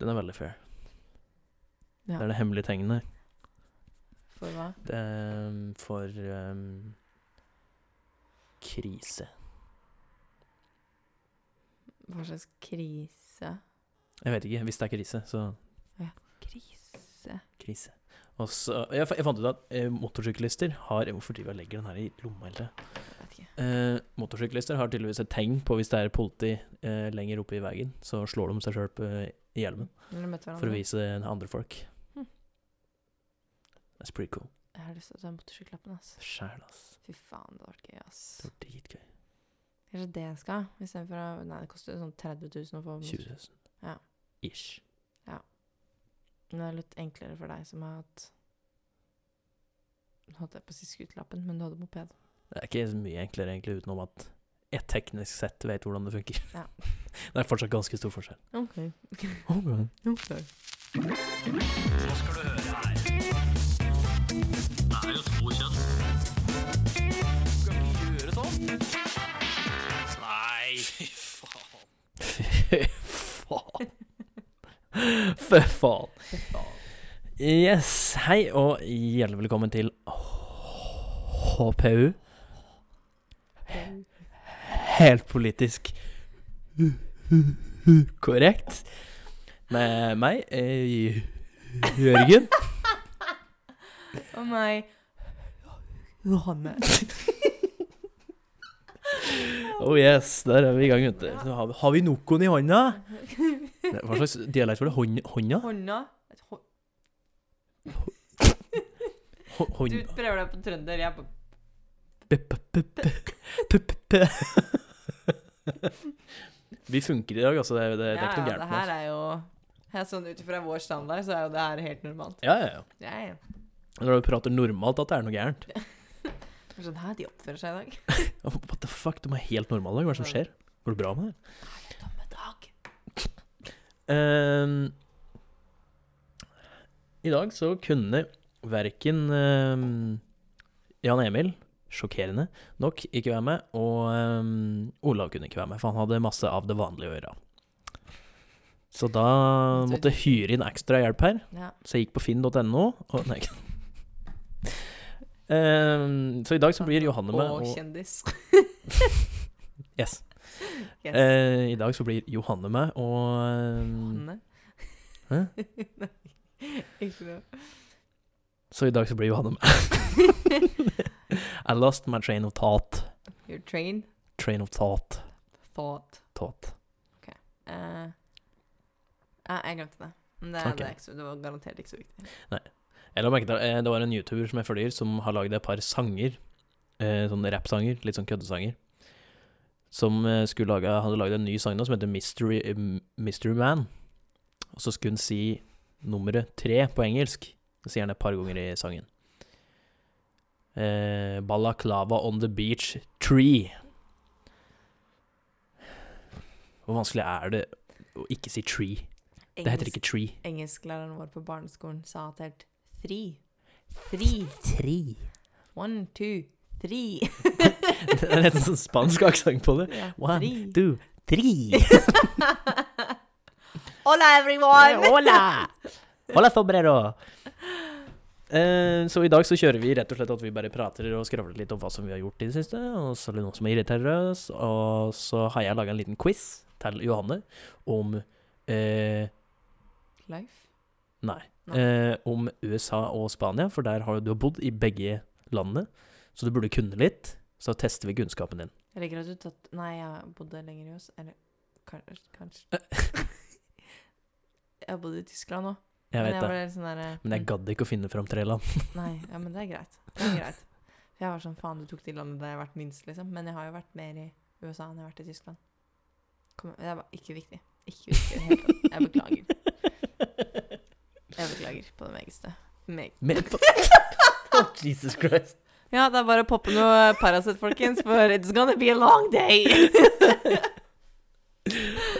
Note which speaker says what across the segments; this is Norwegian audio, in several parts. Speaker 1: Den er veldig fair.
Speaker 2: Ja.
Speaker 1: Det er det hemmelige tegnet.
Speaker 2: For hva?
Speaker 1: Det er um, for um, krise.
Speaker 2: Hva slags krise?
Speaker 1: Jeg vet ikke. Hvis det er krise, så
Speaker 2: Krise?
Speaker 1: krise. Og så, jeg, fa- jeg fant ut at eh, motorsyklister har Hvorfor driver jeg og legger den her i lomma hele tida?
Speaker 2: Jeg vet ikke.
Speaker 1: Eh, motorsyklister har tydeligvis et tegn på hvis det er politi eh, lenger oppe i veien, så slår de seg sjøl i hjelmen
Speaker 2: Når de
Speaker 1: for
Speaker 2: møter
Speaker 1: å
Speaker 2: hverandre.
Speaker 1: vise det til andre folk.
Speaker 2: Hm.
Speaker 1: That's pretty cool.
Speaker 2: Jeg har lyst til å ta motorsykkellappen, ass.
Speaker 1: Sjæl, ass.
Speaker 2: Fy faen, det hadde vært gøy, ass.
Speaker 1: Det var dritgøy.
Speaker 2: Kanskje det jeg skal, istedenfor å Nei, det koster sånn 30 000 å få
Speaker 1: 20 000.
Speaker 2: Ja.
Speaker 1: Ish.
Speaker 2: Men det er litt enklere for deg som har hatt Nå holdt jeg på å si skutelappen, men du hadde moped.
Speaker 1: Det er ikke så mye enklere egentlig utenom at jeg teknisk sett vet hvordan det funker.
Speaker 2: Ja.
Speaker 1: Det er fortsatt ganske stor forskjell.
Speaker 2: Ok.
Speaker 3: sånn? Nei, fy faen.
Speaker 1: Fy faen. Fy faen. Yes. Hei og hjertelig velkommen til HPU. Helt politisk korrekt. Med meg, eh, Jørgen.
Speaker 2: Og meg Johanne.
Speaker 1: Oh yes, der er vi i gang, vet du. Så Har, vi- har vi noen i hånda? Det- Hva slags dialekt var det? Hånd, hånda?
Speaker 2: Hånda Et hå-
Speaker 1: Hå-
Speaker 2: Du
Speaker 1: Hånd...
Speaker 2: prøver deg på trønder, jeg på
Speaker 1: P- p- p- p- p- p- p- Vi funker i dag, altså. Det, er- det, det er ikke noe
Speaker 2: ja,
Speaker 1: gærent
Speaker 2: det
Speaker 1: med
Speaker 2: her
Speaker 1: oss.
Speaker 2: er jo her, Sånn ut ifra vår standard, så er jo det her helt normalt.
Speaker 1: Ja, ja, ja.
Speaker 2: Ja, ja.
Speaker 1: Når du prater normalt, at det er noe gærent.
Speaker 2: Det er Sånn her, de oppfører seg i dag.
Speaker 1: What the fuck, de er helt normale. Hva er det som skjer? Går det bra med deg?
Speaker 2: Dumme dag.
Speaker 1: Ehm, I dag så kunne verken ehm, Jan Emil, sjokkerende nok, ikke være med, og ehm, Olav kunne ikke være med, for han hadde masse av det vanlige å gjøre. Så da måtte jeg hyre inn ekstra hjelp her.
Speaker 2: Ja.
Speaker 1: Så jeg gikk på finn.no og Nei. Ehm, så i dag så blir Johanne med.
Speaker 2: Og
Speaker 1: Og,
Speaker 2: kjendis.
Speaker 1: yes.
Speaker 2: Yes.
Speaker 1: Eh, I dag så blir Johanne med, og ehm,
Speaker 2: Hanne.
Speaker 1: Hæ?
Speaker 2: Nei, ikke noe.
Speaker 1: Så i dag så blir Johanne med. I lost my train of thought.
Speaker 2: Your train
Speaker 1: Train of thought.
Speaker 2: thought.
Speaker 1: Thought.
Speaker 2: Eh, ja, jeg glemte det. Men det, er-
Speaker 1: Ok.
Speaker 2: det, er ikke så, det var garantert ikke så viktig.
Speaker 1: Jeg la merke til eh, det var en YouTuber som jeg følger, som har lagd et par sanger. Eh, sånne rappsanger, litt sånn køddesanger. Som eh, skulle lage, hadde lagd en ny sang nå som heter Mystery, eh, Mystery Man. Og så skulle han si nummeret tre på engelsk. Det sier han et par ganger i sangen. Eh, Balaklava on the beach tree. Hvor vanskelig er det å ikke si tree? Det heter ikke tree.
Speaker 2: Engelsklæreren vår på barneskolen sa at det het three. Three.
Speaker 1: Tree.
Speaker 2: One, two, three.
Speaker 1: Det er nesten sånn spansk aksent på det.
Speaker 2: Ja,
Speaker 1: One,
Speaker 2: three.
Speaker 1: two, three.
Speaker 2: Hola, everyone!
Speaker 1: Hola! Hola, sombrero! Eh, så i dag så kjører vi rett og slett at vi bare prater og skravler litt om hva som vi har gjort i det siste, og så er det noen som irriterer oss, og så har jeg laga en liten quiz til Johanne om eh,
Speaker 2: Life.
Speaker 1: Nei.
Speaker 2: Nei.
Speaker 1: Eh, om USA og Spania, for der har du har bodd i begge landene, så du burde kunne litt. Så tester vi kunnskapen din.
Speaker 2: Jeg liker at du tatt Nei, jeg bodde lenger i oss. Eller kanskje, kanskje. Jeg bodde i Tyskland òg.
Speaker 1: Jeg vet
Speaker 2: men jeg
Speaker 1: det.
Speaker 2: ble sånn der,
Speaker 1: Men jeg gadd ikke å finne fram tre land.
Speaker 2: Nei, ja, men det er greit. Det er greit. For Jeg var sånn, faen, du tok de landene der jeg har vært minst, liksom. Men jeg har jo vært mer i USA enn jeg har vært i Tyskland. Kom, det var ikke viktig. Ikke viktig i det hele tatt. Jeg beklager. Jeg beklager på det megeste. Meg.
Speaker 1: Men, Jesus Christ.
Speaker 2: Ja, det er bare å poppe noe Paracet, folkens, for it's gonna be a long day.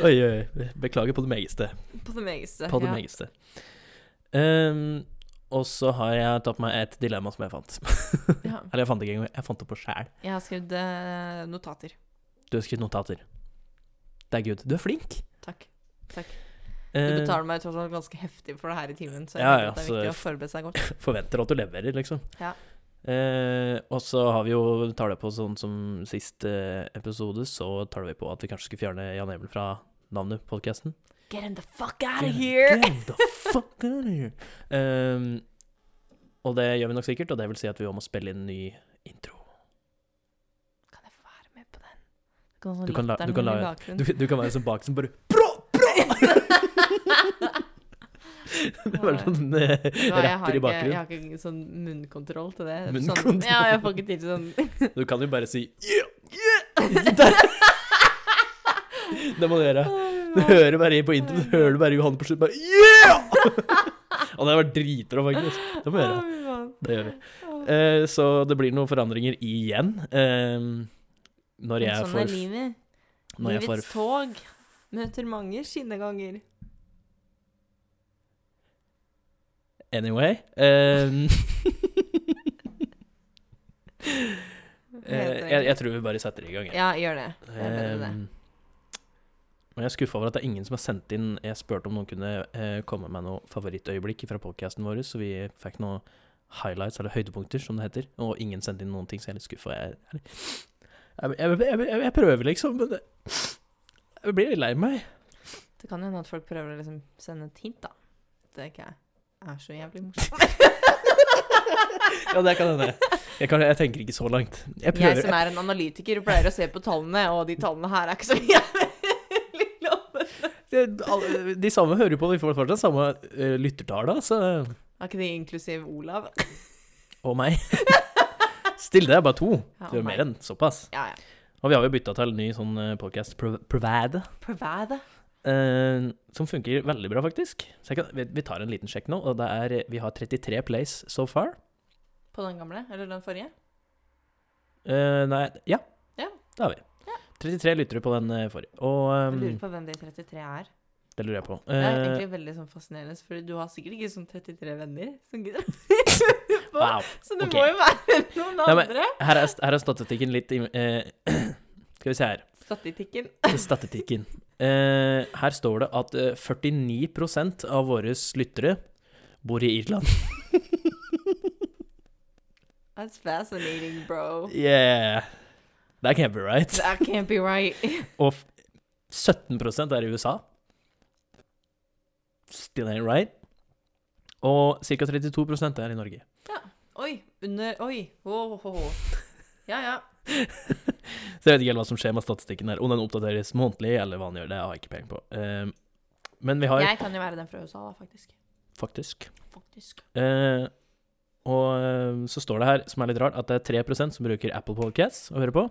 Speaker 1: Oi, oi. oi. Beklager på det megeste.
Speaker 2: På det megeste.
Speaker 1: På det
Speaker 2: ja.
Speaker 1: megeste. Ehm, og så har jeg tatt meg et dilemma som jeg fant.
Speaker 2: Ja.
Speaker 1: Eller jeg fant det ikke engang, jeg fant det på sjæl.
Speaker 2: Jeg har skrevet eh, notater.
Speaker 1: Du har skrevet notater. Det er good. Du er flink.
Speaker 2: Takk. Du
Speaker 1: Eh,
Speaker 2: betaler meg tross alt ganske heftig for det her i timen, så jeg
Speaker 1: Ja, ja,
Speaker 2: tenker at det er
Speaker 1: så-
Speaker 2: viktig å forberede seg godt.
Speaker 1: forventer at du leverer, liksom.
Speaker 2: Ja.
Speaker 1: Eh, og så har vi jo tar det på sånn som sist eh, episode, så tar vi på at vi kanskje skulle fjerne Jan Emil fra navnet på podkasten.
Speaker 2: Get in the fuck out of here!
Speaker 1: Get the fuck out of here! Ehm, og det gjør vi nok sikkert, og det vil si at vi også må spille inn en ny intro.
Speaker 2: Kan jeg få være med på den? Du kan, ha sånn
Speaker 1: Du kan la- du kan
Speaker 2: latteren min i
Speaker 1: la-
Speaker 2: bakgrunnen.
Speaker 1: Du, du kan være sånn bak som bare Det var sånn eh,
Speaker 2: Nei, jeg har
Speaker 1: rapper i
Speaker 2: ikke- Jeg
Speaker 1: bakgrunnen.
Speaker 2: har ikke sånn munnkontroll til det.
Speaker 1: Munnkontroll?
Speaker 2: Sånn, ja, jeg får ikke til sånn
Speaker 1: Du kan jo bare si yeah, yeah! Der. Det må du gjøre. Du hører bare på intro, du hører bare Johanne på slutt bare Yeah! Og det hadde vært dritbra, faktisk. Det må vi gjøre. Det gjør vi. Eh, så det blir noen forandringer igjen. Eh, når jeg
Speaker 2: sånn er
Speaker 1: får
Speaker 2: livet.
Speaker 1: Når jeg får Eh,
Speaker 2: Livets tog møter mange skinneganger.
Speaker 1: Anyway. eh, eh, jeg, jeg tror vi bare setter i gang. jeg.
Speaker 2: Ja, gjør det. Det er bedre det.
Speaker 1: Eh, og jeg er skuffa over at det er ingen som har sendt inn Jeg spurte om noen kunne eh, komme med noe favorittøyeblikk fra podkasten vår, så vi fikk noen highlights, eller høydepunkter, som det heter. Og ingen sendte inn noen ting, så jeg er litt skuffa. Jeg, jeg, jeg, jeg, jeg, jeg prøver, liksom, men det, jeg blir litt lei meg.
Speaker 2: Det kan jo hende at folk prøver å liksom sende et hint, da. Det er ikke jeg. Jeg er så jævlig morsom.
Speaker 1: Ja, det kan hende. Jeg, kan, jeg tenker ikke så langt. Jeg
Speaker 2: Jeg
Speaker 1: prøver.
Speaker 2: som er en analytiker, pleier å se på tallene, og de tallene her er ikke så jævlig lave.
Speaker 1: Det- alle- De samme hører jo på, de får fortsatt samme uh, lyttertall, da, så
Speaker 2: Er ikke de inklusiv Olav?
Speaker 1: Og meg. Stille, det er bare to.
Speaker 2: Ja,
Speaker 1: Det er
Speaker 2: og
Speaker 1: mer
Speaker 2: meg.
Speaker 1: enn såpass.
Speaker 2: Ja, ja.
Speaker 1: Og vi har jo bytta til en ny sånn podkast provider,
Speaker 2: Provide.
Speaker 1: eh, som funker veldig bra, faktisk. Så jeg kan, vi, vi tar en liten sjekk nå, og det er eh, Vi har 33 plays so far.
Speaker 2: På den gamle? Eller den forrige?
Speaker 1: Eh, nei Ja.
Speaker 2: Ja.
Speaker 1: Det har vi. 33 lyttere på den eh, forrige. Og
Speaker 2: Jeg
Speaker 1: eh,
Speaker 2: lurer på hvem de 33 er.
Speaker 1: det lurer jeg på.
Speaker 2: Det er
Speaker 1: Eh,
Speaker 2: egentlig veldig sånn fascinerende, for du har sikkert ikke sånn 33 venner som gidder å høre på.
Speaker 1: wow.
Speaker 2: Så det
Speaker 1: ok.
Speaker 2: må jo være noen
Speaker 1: Nei, men-
Speaker 2: andre.
Speaker 1: Her er, her er statistikken litt i- eh, Skal vi se her.
Speaker 2: Statistikken.
Speaker 1: Statistikken. Eh, her står det at eh, 49 av våre lyttere bor i Irland.
Speaker 2: That's fascinating, bro.
Speaker 1: Yeah! That can't be right.
Speaker 2: That can't be right.
Speaker 1: Og f- 17 er i USA. Still ain't right. Og ca. 32 er i Norge.
Speaker 2: Oi, under Oi. Ho, ho, ho. Ja, ja.
Speaker 1: Så jeg vet ikke helt hva som skjer med statistikken her. Om den oppdateres månedlig, eller hva den gjør, det har jeg ikke peiling på. Eh, men vi har
Speaker 2: Jeg kan jo være den fra USA, da, faktisk.
Speaker 1: faktisk
Speaker 2: Faktisk.
Speaker 1: Eh, og eh, så står det her, som er litt rart, at det er 3 som bruker Apple Podcasts å høre på.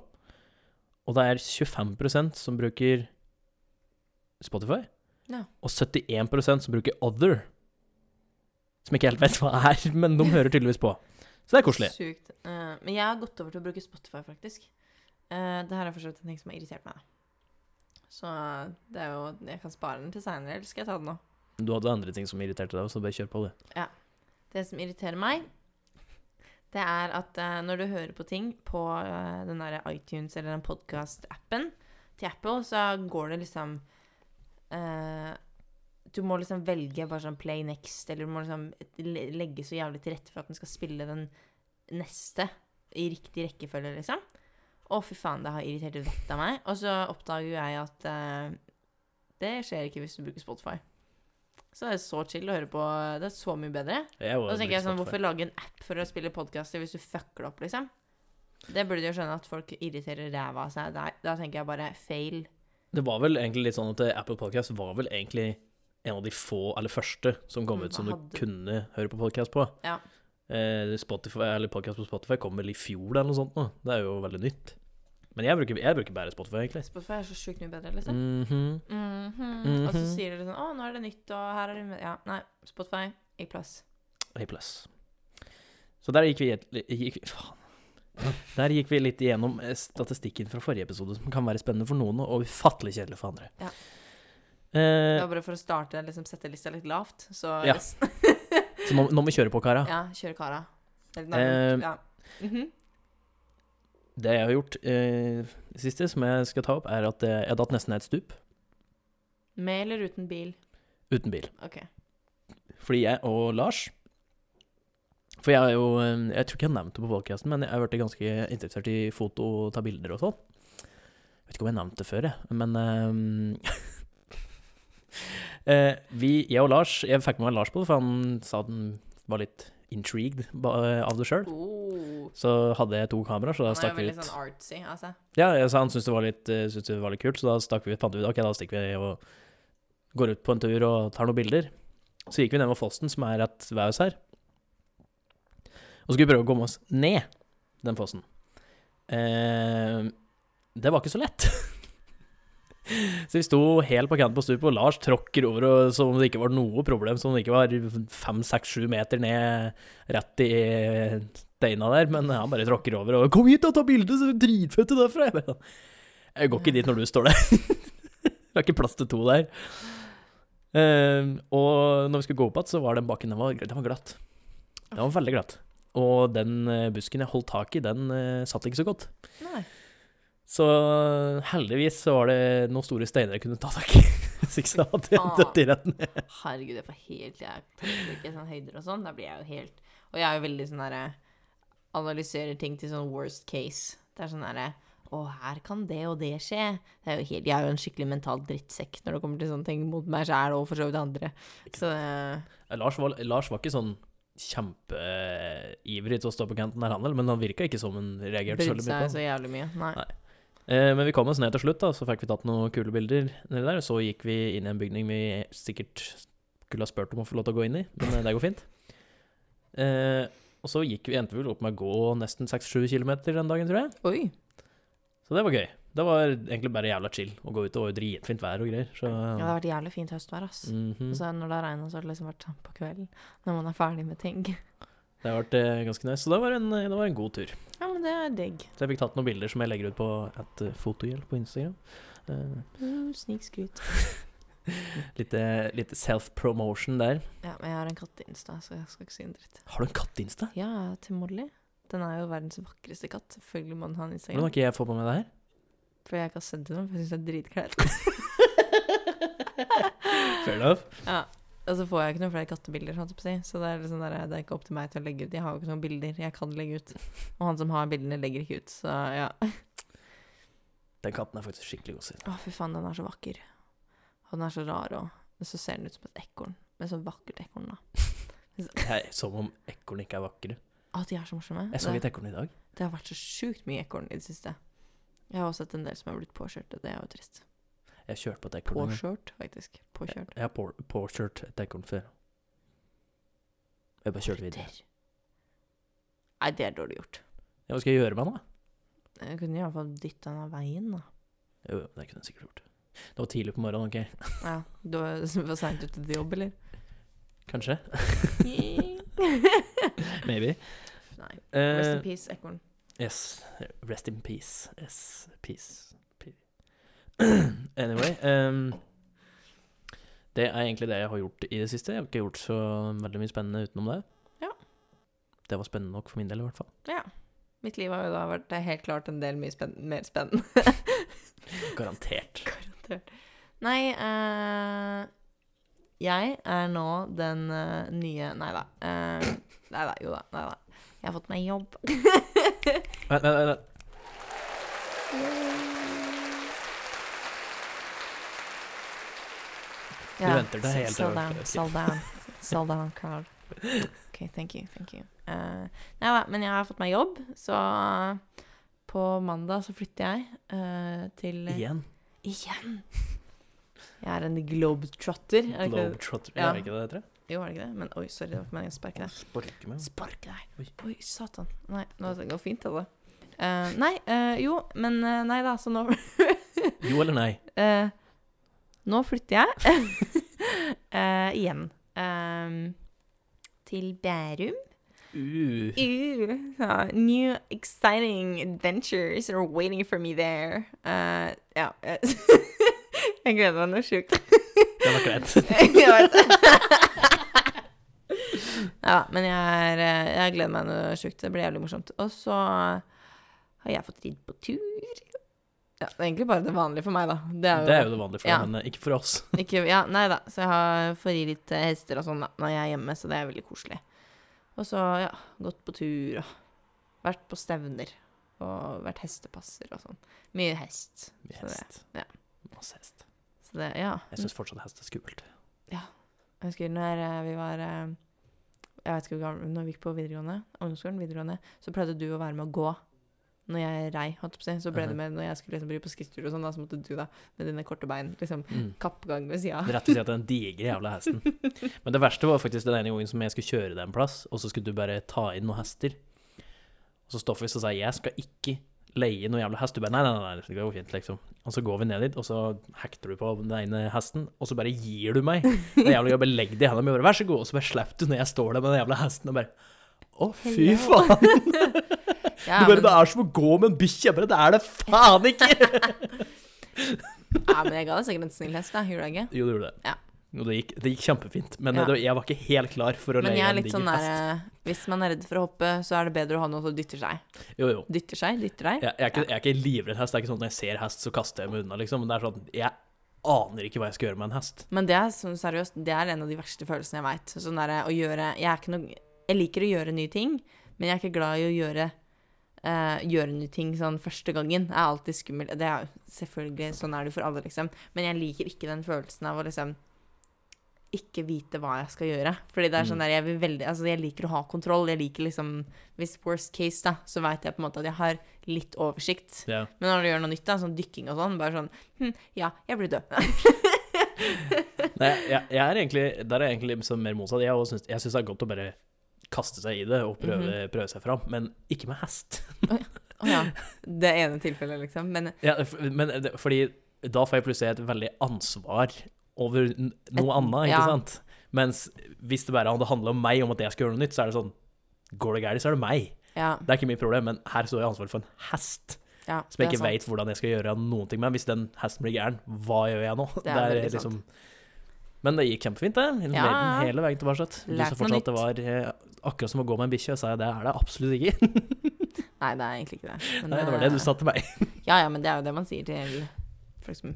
Speaker 1: Og det er 25 som bruker Spotify.
Speaker 2: Ja.
Speaker 1: Og 71 som bruker Other. Som jeg ikke helt vet hva er, men de hører tydeligvis på. Så det er koselig.
Speaker 2: Sykt. Eh, men jeg har gått over til å bruke Spotify, faktisk. Eh, det her er for så vidt en ting som har irritert meg. Så eh, det er jo Jeg kan spare den til seinere, eller skal jeg ta den nå?
Speaker 1: Du hadde andre ting som irriterte deg, så bare kjør på, du.
Speaker 2: Det som irriterer meg, det er at eh, når du hører på ting på eh, den der iTunes eller den podcast-appen til Apple, så går det liksom eh, Du må liksom velge bare sånn play next, eller du må liksom le- legge så jævlig til rette for at den skal spille den neste i riktig rekkefølge, liksom. Å, fy faen, det har irritert vettet av meg. Og så oppdager jo jeg at eh, det skjer ikke hvis du bruker Spotify. Så det er så chill å høre på. Det er så mye bedre.
Speaker 1: Jeg
Speaker 2: Og så tenker jeg sånn,
Speaker 1: Spotify.
Speaker 2: Hvorfor lage en app for å spille podkaster hvis du fucker det opp, liksom? Det burde de jo skjønne, at folk irriterer ræva av seg. Da, da tenker jeg bare fail.
Speaker 1: Det var vel egentlig litt sånn at eh, Apple Podcast var vel egentlig en av de få, eller første, som kom
Speaker 2: Mm,
Speaker 1: ut som du
Speaker 2: hadde-
Speaker 1: kunne høre på podcast på.
Speaker 2: Ja.
Speaker 1: Eh, Spotify, eller podcast på Spotify kom vel i fjor eller noe sånt nå. Det er jo veldig nytt. Men jeg bruker, jeg bruker bare Spotify, egentlig.
Speaker 2: Spotify er så sjukt mye bedre, liksom.
Speaker 1: Mhm.
Speaker 2: Mhm. Og så
Speaker 1: Mhm.
Speaker 2: sier de sånn Å, nå er det nytt, og her er det Ja, nei. Spotify, i plass.
Speaker 1: A plus. Så der gikk vi, et- gikk, faen. Der gikk vi litt igjennom eh, statistikken fra forrige episode, som kan være spennende for noen, og ufattelig kjedelig for andre.
Speaker 2: Ja. Det
Speaker 1: Eh,
Speaker 2: var bare for å starte, liksom sette lista litt lavt, så
Speaker 1: Ja.
Speaker 2: hvis-
Speaker 1: så nå, nå må vi kjøre på, kara.
Speaker 2: ja kjøre kara. Eller nei,
Speaker 1: Eh,
Speaker 2: ja. Mhm.
Speaker 1: Det jeg har gjort eh, siste, som jeg skal ta opp, er at eh, jeg datt nesten ned et stup.
Speaker 2: Med eller uten bil?
Speaker 1: Uten bil.
Speaker 2: Ok.
Speaker 1: Fordi jeg og Lars For jeg er jo eh, Jeg tror ikke jeg har nevnt det på podcasten men jeg har vært ganske interessert i foto og ta bilder og sånn. Jeg vet ikke om jeg har nevnt det før, jeg, men eh, eh, vi, Jeg og Lars Jeg fikk med meg Lars på det, for han sa at han var litt intrigued ba- av det sjøl.
Speaker 2: Oh.
Speaker 1: Så hadde jeg to kameraer, så da
Speaker 2: Han er jo
Speaker 1: stakk vi
Speaker 2: veldig
Speaker 1: ut.
Speaker 2: sånn artsy, altså.
Speaker 1: Ja, jeg sa han syntes det var litt, eh, syntes det var litt kult, så da stakk vi, fant vi ut ok, da stikker vi og går ut på en tur og tar noen bilder. Så gikk vi ned mot fossen, som er rett ved oss her. Og skulle prøve å komme oss ned den fossen. Eh, det var ikke så lett. Så vi sto helt på kanten på stupet, og Lars tråkker over og som om det ikke var noe problem, som om det ikke var fem, seks, sju meter ned rett i steina der, men han bare tråkker over og 'Kom hit og ta bilde, så dritfett det er fra'. Jeg bare sånn, Jeg går ikke dit når du står der. det er ikke plass til to der. Ehm, og når vi skulle gå opp igjen, så var den bakken den var, den var glatt. Den var veldig glatt. Og den eh, busken jeg holdt tak i, den eh, satt ikke så godt.
Speaker 2: Nei.
Speaker 1: Så eh, heldigvis så var det noen store steiner jeg kunne ta tak i. Hvis ikke så hadde jeg dødd i retten.
Speaker 2: Herregud, jeg får helt Jeg tåler ikke sånn høyder og sånn. Da blir jeg jo helt Og jeg er jo veldig sånn derre Analyserer ting til sånn worst case. Det er sånn derre Å, her kan det og det skje. Det er jo helt, jeg er jo en skikkelig mental drittsekk når det kommer til sånne ting mot meg sjæl og for så vidt andre. Så det
Speaker 1: Eh, Lars var, Lars var ikke sånn kjempeivrig til å stå på kanten der, han heller, men han virka ikke som han reagerte så
Speaker 2: brydde
Speaker 1: veldig mye på
Speaker 2: seg
Speaker 1: det.
Speaker 2: så jævlig mye. Nei.
Speaker 1: Nei. Eh, men vi kom oss ned til slutt, da, så fikk vi tatt noen kule bilder nedi der. Så gikk vi inn i en bygning vi sikkert skulle ha spurt om å få lov til å gå inn i, men eh, det går fint. Eh, og så gikk vi, endte vi vel opp med å gå nesten 6-7 km den dagen, tror jeg.
Speaker 2: Oi.
Speaker 1: Så det var gøy. Det var egentlig bare jævla chill å gå ut. Det var jo dritfint vær og greier. Så,
Speaker 2: Ja, det har vært jævlig fint høstvær, ass.
Speaker 1: Mhm.
Speaker 2: Og så når det har regna, så har det liksom vært sånn på kvelden. Når man er ferdig med ting.
Speaker 1: Det har vært eh, ganske nice. Så det var, en, det var en god tur.
Speaker 2: Ja, men det er digg.
Speaker 1: Så jeg fikk tatt noen bilder som jeg legger ut på et eh, fotohjelp på Instagram. Eh,
Speaker 2: Mm, Snikskryt.
Speaker 1: Litt, eh, litt self-promotion der.
Speaker 2: Ja, men jeg har en katteinsta, så jeg skal ikke si en dritt.
Speaker 1: Har du en katt-insta?
Speaker 2: Ja, til Molly. Den er jo verdens vakreste katt. Selvfølgelig må den ha en
Speaker 1: Hvordan
Speaker 2: Instagram.
Speaker 1: har ikke jeg fått med meg det her?
Speaker 2: For jeg har ikke har sendt henne, for jeg syns det er dritkleint.
Speaker 1: Fair enough.
Speaker 2: ja. Og så får jeg ikke noen flere kattebilder, holdt jeg på å si. så det er, liksom der, det er ikke opp til meg til å legge ut. Jeg har jo ikke noen bilder jeg kan legge ut. Og han som har bildene, legger ikke ut, så ja.
Speaker 1: Den katten er faktisk skikkelig god.
Speaker 2: Å, fy faen, den er så vakker. Og den er så rar, og men så ser den ut som et ekorn. Men så vakkert ekorn, da.
Speaker 1: Det er som om ekorn ikke er vakre.
Speaker 2: Å, de er så morsomme.
Speaker 1: Jeg så
Speaker 2: Det-
Speaker 1: litt ekorn i dag.
Speaker 2: Det har vært så sjukt mye ekorn i det siste. Jeg har også sett en del som har blitt påkjørt, og det er jo trist.
Speaker 1: Jeg kjørte på et ekorn. en gang.
Speaker 2: Påkjørt, faktisk. Påkjørt.
Speaker 1: Jeg har por- påkjørt et ekorn før. Jeg bare kjørte videre.
Speaker 2: Påkjørter. Nei, det er dårlig gjort.
Speaker 1: Ja, hva skal jeg gjøre med den, da?
Speaker 2: Jeg kunne i hvert fall dytta den av veien, da.
Speaker 1: Jo, jo, det kunne jeg sikkert gjort. Det var tidlig på morgenen, OK?
Speaker 2: Ja, Du var for seint ute til jobb, eller?
Speaker 1: Kanskje?
Speaker 2: Nei.
Speaker 1: Maybe.
Speaker 2: Rest
Speaker 1: Eh,
Speaker 2: in peace, ekorn.
Speaker 1: Yes. Rest in peace. Yes. Peace. Pe- anyway ehm, Det er egentlig det jeg har gjort i det siste. Jeg har ikke gjort så veldig mye spennende utenom det.
Speaker 2: Ja.
Speaker 1: Det var spennende nok for min del, i hvert fall.
Speaker 2: Ja. Mitt liv har jo da vært det er helt klart en del mye spenn mer spennende.
Speaker 1: Garantert.
Speaker 2: Garantert. Nei, eh, jeg er nå den eh, nye Nei da. Eh, nei da, jo da. Nei da. Jeg har fått meg jobb.
Speaker 1: Nei, nei, nei, nei.
Speaker 2: Ja,
Speaker 1: venter til
Speaker 2: s-
Speaker 1: helt
Speaker 2: sell
Speaker 1: over-
Speaker 2: down, sell down, sell down, crowd. Ok, thank you, thank you. Eh, nei da, men jeg har fått meg jobb, så på mandag så flytter jeg eh, til
Speaker 1: Igjen.
Speaker 2: Igjen! Jeg er en globetrotter. Er det ikke det?
Speaker 1: Globetrotter.
Speaker 2: Ja.
Speaker 1: Er det ikke det det heter?
Speaker 2: Jo, er det ikke det? Men oi, sorry, det var ikke meningen å sparke deg.
Speaker 1: Sparke meg.
Speaker 2: Sparke deg.
Speaker 1: Mm. Oi.
Speaker 2: Oi, satan. Nei, nå det går fint, altså. Eh, nei, eh, jo, men eh, nei da, så nå
Speaker 1: Jo eller nei?
Speaker 2: Eh, nå flytter jeg eh, igjen. Ehm, til Bærum.
Speaker 1: Uh.
Speaker 2: Ooh, uh, new exciting adventures are waiting for me there. Eh, ja. eh, jeg gleder meg noe sjukt.
Speaker 1: Det var greit.
Speaker 2: Jeg vet det. ja, men jeg, er, eh, jeg gleder meg noe sjukt. Det blir jævlig morsomt. Og så har jeg fått ridd på tur. Ja, Ja, det er egentlig bare det vanlige for meg, da. Det er jo,
Speaker 1: Det er jo det vanlige for
Speaker 2: Ja.
Speaker 1: deg, men eh, ikke for oss.
Speaker 2: Ikke, ja, nei da. Så jeg har får ri litt eh, hester og sånn da, når jeg er hjemme, så det er veldig koselig. Og så, ja, gått på tur og vært på stevner. Og vært hestepasser og sånn. Mye hest.
Speaker 1: Mye
Speaker 2: Så det-
Speaker 1: hest.
Speaker 2: ja.
Speaker 1: Masse hest.
Speaker 2: Så det, ja.
Speaker 1: Jeg syns fortsatt hest er skummelt.
Speaker 2: Jeg husker når eh, vi var eh, Jeg vet ikke hvor gammel Når vi gikk på videregående, ungdomsskolen, videregående, så pleide du å være med å gå. Når jeg rei, holdt jeg på å si. Så ble det
Speaker 1: Mhm.
Speaker 2: med når jeg skulle liksom bry på skrittur og sånn, da, så måtte du da, med dine korte bein, liksom
Speaker 1: Mm.
Speaker 2: kappgang ved sida.
Speaker 1: Rett og slett den digre jævla hesten. Men det verste var faktisk den ene gangen som jeg skulle kjøre deg en plass, og så skulle du bare ta inn noen hester. Og så Stoffis og sier 'jeg skal ikke leie noen jævla hest'. Du bare 'nei, nei, nei, det går fint', liksom. Og så går vi ned dit, og så hekter du på den ene hesten, og så bare gir du meg. Det jævla jeg bare legger det i hendene mine, bare 'vær så god', og så bare slipper du når jeg står der med den jævla hesten, og bare å, fy
Speaker 2: Hello.
Speaker 1: faen!
Speaker 2: Ja,
Speaker 1: Du bare,
Speaker 2: men-
Speaker 1: det er som å gå med en bikkje. Jeg bare, Det er det faen ikke!
Speaker 2: Ja, men jeg ga deg sikkert en snill hest, da. Gjorde jeg ikke?
Speaker 1: Jo, du gjorde det.
Speaker 2: Ja.
Speaker 1: Og det gikk, det gikk kjempefint. Men eh,
Speaker 2: Ja.
Speaker 1: det, jeg var ikke helt klar for å
Speaker 2: Men
Speaker 1: leie
Speaker 2: jeg er
Speaker 1: en
Speaker 2: litt
Speaker 1: diger
Speaker 2: sånn
Speaker 1: hest.
Speaker 2: der Hvis man er redd for å hoppe, så er det bedre å ha noe som dytter seg.
Speaker 1: Jo, jo.
Speaker 2: Dytter seg, dytter deg.
Speaker 1: Jeg, jeg, er ikke, jeg er ikke livredd hest. Det er ikke sånn at når jeg ser hest, så kaster jeg meg unna, liksom. Men det er sånn Jeg aner ikke hva jeg skal gjøre med en hest.
Speaker 2: Men det er sånn seriøst, det er en av de verste følelsene jeg veit. Sånn derre å gjøre Jeg er ikke noe Jeg liker å gjøre nye ting, men jeg er ikke glad i å gjøre eh, gjøre nye ting sånn første gangen er alltid skummelt. Det er jo selvfølgelig Sånn er det jo for alle, liksom. Men jeg liker ikke den følelsen av å liksom ikke vite hva jeg skal gjøre. Fordi det er sånn
Speaker 1: Mm.
Speaker 2: der Jeg vil veldig Altså, jeg liker å ha kontroll. Jeg liker liksom Hvis worst case, da, så veit jeg på en måte at jeg har litt oversikt.
Speaker 1: Ja.
Speaker 2: Men når du gjør noe nytt, da, sånn dykking og sånn, bare sånn hm, Ja, jeg blir død.
Speaker 1: Nei, jeg, jeg er egentlig Der er jeg egentlig liksom mer motsatt. Jeg også syns jeg syns det er godt å bare kaste seg i det og prøve,
Speaker 2: Mhm.
Speaker 1: prøve seg fram, men ikke med hest.
Speaker 2: Å ja. Det ene tilfellet, liksom. Men
Speaker 1: Ja, f- men det, fordi da får jeg plutselig et veldig ansvar over n- noe annet, ikke
Speaker 2: ja.
Speaker 1: sant? Mens hvis det bare hadde handla om meg, om at jeg skal gjøre noe nytt, så er det sånn Går det gærent, så er det meg.
Speaker 2: ja.
Speaker 1: Det er ikke mitt problem, men her står jeg ansvaret for en hest
Speaker 2: ja
Speaker 1: som jeg
Speaker 2: det er
Speaker 1: ikke
Speaker 2: sant.
Speaker 1: veit hvordan jeg skal gjøre noen ting med. Hvis den hesten blir gæren, hva gjør jeg nå? liksom-
Speaker 2: Det er veldig sant.
Speaker 1: Men det gikk kjempefint, det. Ja.
Speaker 2: Ja.
Speaker 1: Hele veien tilbake. Du
Speaker 2: Lært
Speaker 1: sa
Speaker 2: noe
Speaker 1: fortsatt at det var eh, akkurat som å gå med en bikkje, og sa jeg det er det absolutt ikke.
Speaker 2: Nei, det er egentlig ikke det. Men, eh,
Speaker 1: Nei, det var det du sa til meg.
Speaker 2: Ja, ja, men det er jo det man sier til folk som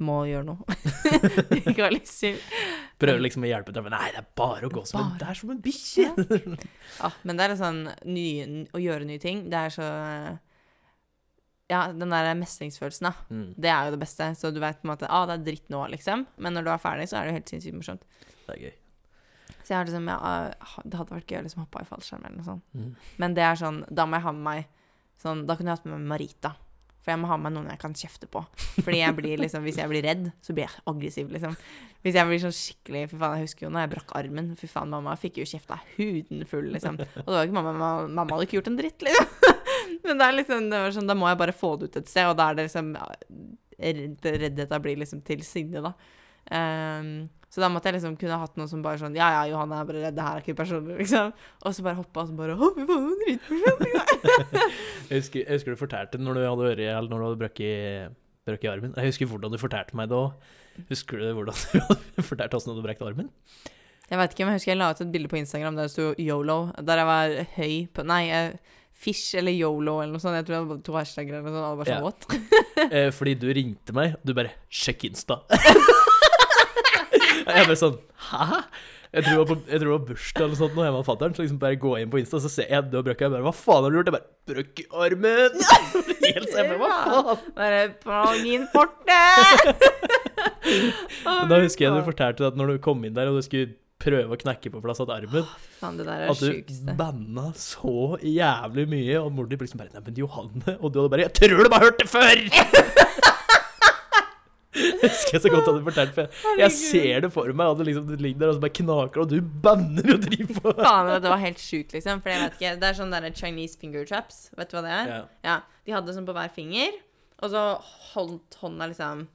Speaker 2: må gjøre noe. ikke være litt sur.
Speaker 1: Prøver liksom å hjelpe til, men nei, det er bare å gå som en,
Speaker 2: Bare.
Speaker 1: det er som en bikkje.
Speaker 2: Ja, men det er litt sånn nye, å gjøre nye ting. Det er så Ja, den der mestringsfølelsen, da.
Speaker 1: Mm,
Speaker 2: Det er jo det beste. Så du veit på en måte ah, det er dritt nå, liksom. Men når du er ferdig, så er det jo helt sinnssykt morsomt.
Speaker 1: det er gøy.
Speaker 2: Så jeg har liksom jeg, ah, Det hadde vært gøy å liksom hoppe i fallskjerm eller noe sånt.
Speaker 1: Mm.
Speaker 2: Men det er sånn, da må jeg ha med meg sånn, Da kunne jeg hatt med meg Marita. For jeg må ha med meg noen jeg kan kjefte på. Fordi jeg blir liksom, Hvis jeg blir redd, så blir jeg aggressiv, liksom. Hvis jeg blir sånn skikkelig Fy faen, jeg husker jo når jeg brakk armen. Fy faen, mamma fikk jo kjeft av huden full, liksom. Og det var jo ikke mamma, mamma, mamma hadde ikke gjort en dritt, liksom. Men det er liksom, det var sånn, da må jeg bare få det ut et sted, og da er det liksom ja, redd- Reddheta blir liksom til sinne, da. Ehm, så da måtte jeg liksom kunne hatt noe som bare sånn Ja, ja, Johanne er bare redd, det her er ikke personlig, liksom. Og så bare hoppa, og så bare Å, fy faen, hun driter
Speaker 1: Jeg husker, jeg husker du fortalte når du hadde øre, eller når du hadde brøkket brøkket armen. Jeg husker hvordan du fortalte meg det òg. Husker du hvordan du hadde fortalt oss når du brekte armen?
Speaker 2: Jeg vet ikke, men jeg husker jeg la ut et bilde på Instagram der det sto YOLO. Der jeg var høy på Nei, eh, fish eller YOLO eller noe sånt. Jeg tror jeg hadde to hashtagger eller noe sånt. Alle bare sånn
Speaker 1: Ja.
Speaker 2: what?
Speaker 1: Eh, fordi du ringte meg, og du bare 'sjekk Insta'. jeg bare sånn 'hæ?! Jeg tror det var, på, jeg tror det var bursdag eller noe sånt nå hjemme hos fatter'n. Så liksom bare gå inn på Insta, så ser jeg du har brøkket. Jeg bare 'hva faen har du gjort?' Jeg bare 'brøkk i armen'! Helt sånn, jeg bare, hva faen?
Speaker 2: Bare plagin forte!
Speaker 1: Men da husker jeg du fortalte at når du kom inn der og du skulle prøve å knekke på plass at armen
Speaker 2: Faen, det der er
Speaker 1: At
Speaker 2: det
Speaker 1: du
Speaker 2: sjukeste.
Speaker 1: banna så jævlig mye, og mor di liksom bare Nei, men Johanne Og du hadde bare Jeg tror du bare har hørt det før! Jeg husker jeg så godt at du fortalte for jeg- Jeg ser det for meg, at du liksom du ligger der og så bare knaker, og du banner og driver på.
Speaker 2: Faen, det var helt sjukt, liksom. For jeg vet ikke, Det er sånn derre Chinese finger traps. Vet du hva det er?
Speaker 1: Ja.
Speaker 2: Ja, De hadde sånn på hver finger, og så holdt hånda liksom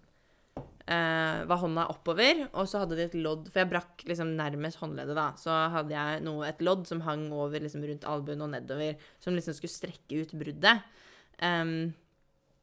Speaker 2: eh, Var hånda oppover, og så hadde de et lodd For jeg brakk liksom nærmest håndleddet, da. Så hadde jeg noe, et lodd som hang over liksom rundt albuen og nedover, som liksom skulle strekke ut bruddet. Em,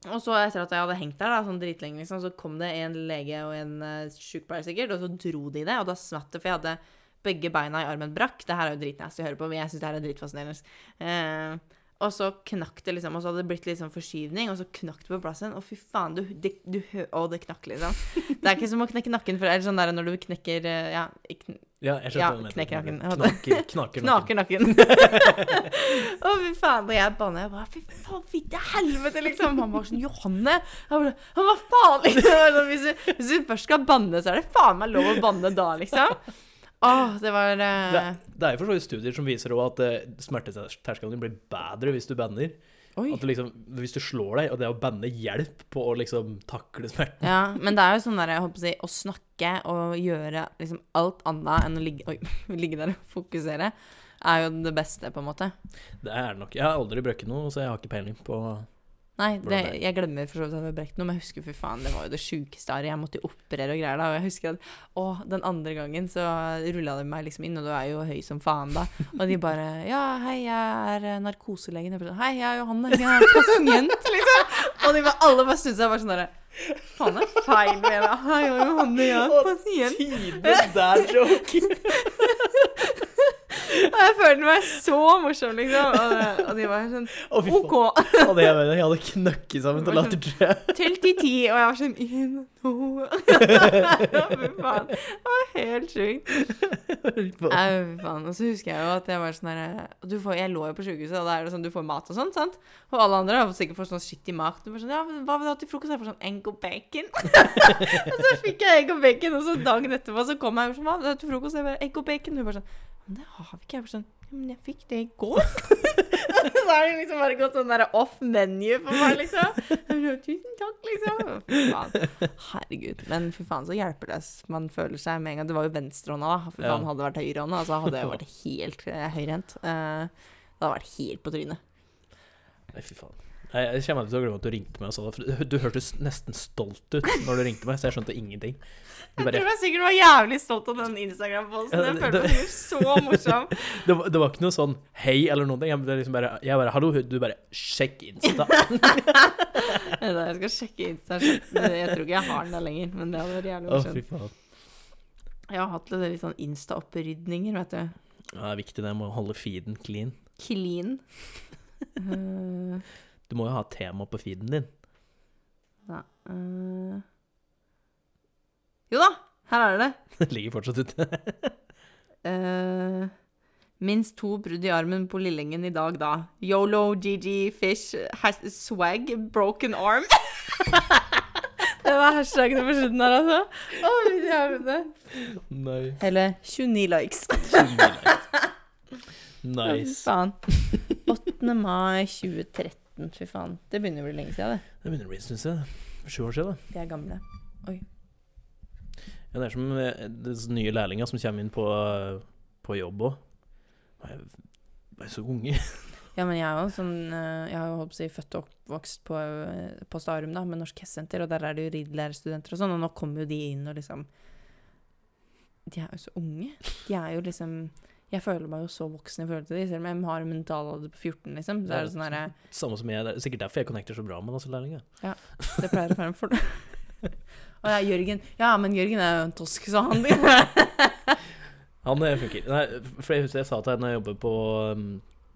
Speaker 2: og så etter at jeg hadde hengt der da, sånn dritlenge, liksom, så kom det en lege og en eh, sykepleier sikkert, og så dro de det, og da smatt det, for jeg hadde begge beina i armen brakk. Det her er jo dritnasty å høre på, men jeg syns det her er dritfascinerende. Eh, Og så knakk det, liksom. Og så hadde det blitt litt sånn forskyvning, og så knakk det på plassen. Og fy faen, du, det, du hø- Å, det knakk, liksom. Det er ikke som å knekke nakken for Eller sånn der når du knekker eh, Ja, i kn
Speaker 1: Ja, jeg skjønte
Speaker 2: Ja,
Speaker 1: hva du mente.
Speaker 2: knekker nakken.
Speaker 1: Knaker, knaker nakken.
Speaker 2: knaker nakken. Å, fy faen. Og jeg banna. Jeg bare Fy faen, fy til helvete, liksom. Han var sånn Johanne. Jeg bare, «Ja, Hva faen, liksom. Jeg bare, Hvis du, hvis du først skal banne, så er det faen meg lov å banne da, liksom. Å, det var
Speaker 1: Det,
Speaker 2: eh,
Speaker 1: det er jo for så vidt studier som viser også at eh, smerteterskelen din blir bedre hvis du banner.
Speaker 2: Oi.
Speaker 1: At du liksom, hvis du slår deg, og det å banne hjelper på å liksom takle smerten.
Speaker 2: Ja, men det er jo sånn der, jeg holdt på å si, å snakke og gjøre liksom alt annet enn å ligge, oi, ligge der og fokusere, er jo det beste, på en måte.
Speaker 1: Det er det nok. Jeg har aldri brøkket noe, så jeg har ikke peiling på
Speaker 2: Nei, det,
Speaker 1: Hvordan det
Speaker 2: jeg glemmer for så vidt at jeg har brekt noe, men jeg husker, fy faen, det var jo det sjukeste arret. Jeg måtte jo operere og greier da, og jeg husker at, å, den andre gangen så rulla de meg liksom inn, og du er jo høy som faen da, og de bare, ja, hei, jeg er eh, narkoselegen. Jeg bare, sånn, hei, jeg er Johanne, jeg er pasient, liksom. Og de bare, alle bare snudde seg og bare sånn der, faen, det er feil med meg. Hei, jeg er Johanne, jeg er pasient.
Speaker 1: Tidenes dad joke!
Speaker 2: Og jeg følte meg så morsom, liksom. Og, og de var sånn
Speaker 1: Å, fy faen.
Speaker 2: OK.
Speaker 1: Hadde jeg, jeg hadde knøkket sammen til latter, tror jeg.
Speaker 2: Til til ti. Og jeg var sånn én, to Fy faen. Det var helt sjukt.
Speaker 1: På-
Speaker 2: Au, fy faen. Og så husker jeg jo at jeg var sånn her du får, Jeg lå jo på sjukehuset, og da er det sånn du får mat og sånt, sant? Og alle andre har sikkert fått sånn skittig mat. Du bare sånn Ja, men hva vil du ha til frokost? Jeg får sånn egg og bacon. og så fikk jeg egg og bacon, og så dagen etterpå så kom jeg og sånn Hva vil du ha til frokost? Jeg bare egg og bacon. Hun bare sånn Men det har vi ikke. Jeg bare sånn «Ja, Men jeg fikk det i går. så har det liksom bare gått sånn der off menu for meg, liksom. Jeg bare, Tusen takk, liksom. Fy faen. Herregud. Men fy faen, så hjelpeløs man føler seg med en gang. Det var jo venstrehånda, da. Fy
Speaker 1: Ja.
Speaker 2: faen, hadde det vært høyrehånda, så hadde jeg vært helt eh, høyrehendt. Eh, det hadde vært helt på trynet.
Speaker 1: Nei, fy faen. Nei, Jeg kommer aldri til å glemme at du ringte meg og sa det. For du- du hørtes nesten stolt ut når du ringte meg, så jeg skjønte ingenting. Du
Speaker 2: Jeg
Speaker 1: bare,
Speaker 2: tror jeg sikkert var jævlig stolt av den Instagram-posten. Jeg følte meg sikkert så morsom.
Speaker 1: det, var, det var ikke noe sånn hei eller noen ting. Jeg ble liksom bare, jeg bare hallo, du bare sjekk Insta.
Speaker 2: Vent da, Jeg skal sjekke Insta. Jeg tror ikke jeg har den der lenger, men det hadde vært jævlig
Speaker 1: Å, fy
Speaker 2: morsomt.
Speaker 1: faen.
Speaker 2: Jeg har hatt litt litt sånn Insta-opprydninger, vet du.
Speaker 1: Ja, det er viktig det med å holde feeden clean.
Speaker 2: Clean. Eh,
Speaker 1: Du må jo ha tema på feeden din.
Speaker 2: Nei eh. Jo da, her er det.
Speaker 1: Det ligger fortsatt ute.
Speaker 2: Eh, minst to brudd i armen på Lillengen i dag, da. Yolo, GG, fish, has swag, broken arm. det var hashtagene på slutten her, altså. Å, fy jævlig.
Speaker 1: Nei.
Speaker 2: Eller 29 likes. Fy
Speaker 1: Nice.
Speaker 2: Faen. 8. mai 2013. Fy faen. Det begynner å bli lenge siden, det.
Speaker 1: Det begynner å bli en stund siden. For sju år siden, da.
Speaker 2: Vi er gamle.
Speaker 1: Ja, det er som eh, disse nye lærlinger som kommer inn på, på jobb òg. De er så unge.
Speaker 2: Ja, men jeg er jo sånn eh, Jeg har jo holdt på å si født og oppvokst på, eh, på Starum, da, med Norsk Hestsenter, og der er det jo ridelærerstudenter og sånn, og nå kommer jo de inn og liksom De er jo så unge. De er jo liksom Jeg føler meg jo så voksen i forhold til de, selv om jeg har en mentalalder på 14, liksom. Så er det sånn herre
Speaker 1: Samme som jeg. Det er sikkert derfor jeg connecter så bra med disse lærlingene.
Speaker 2: Det pleier å være en fordel. Og det er Jørgen. Ja, men Jørgen er jo en tosk, sa han. ja.
Speaker 1: Han eh, funker. Nei, for jeg husker jeg sa til henne når jeg jobbet på um,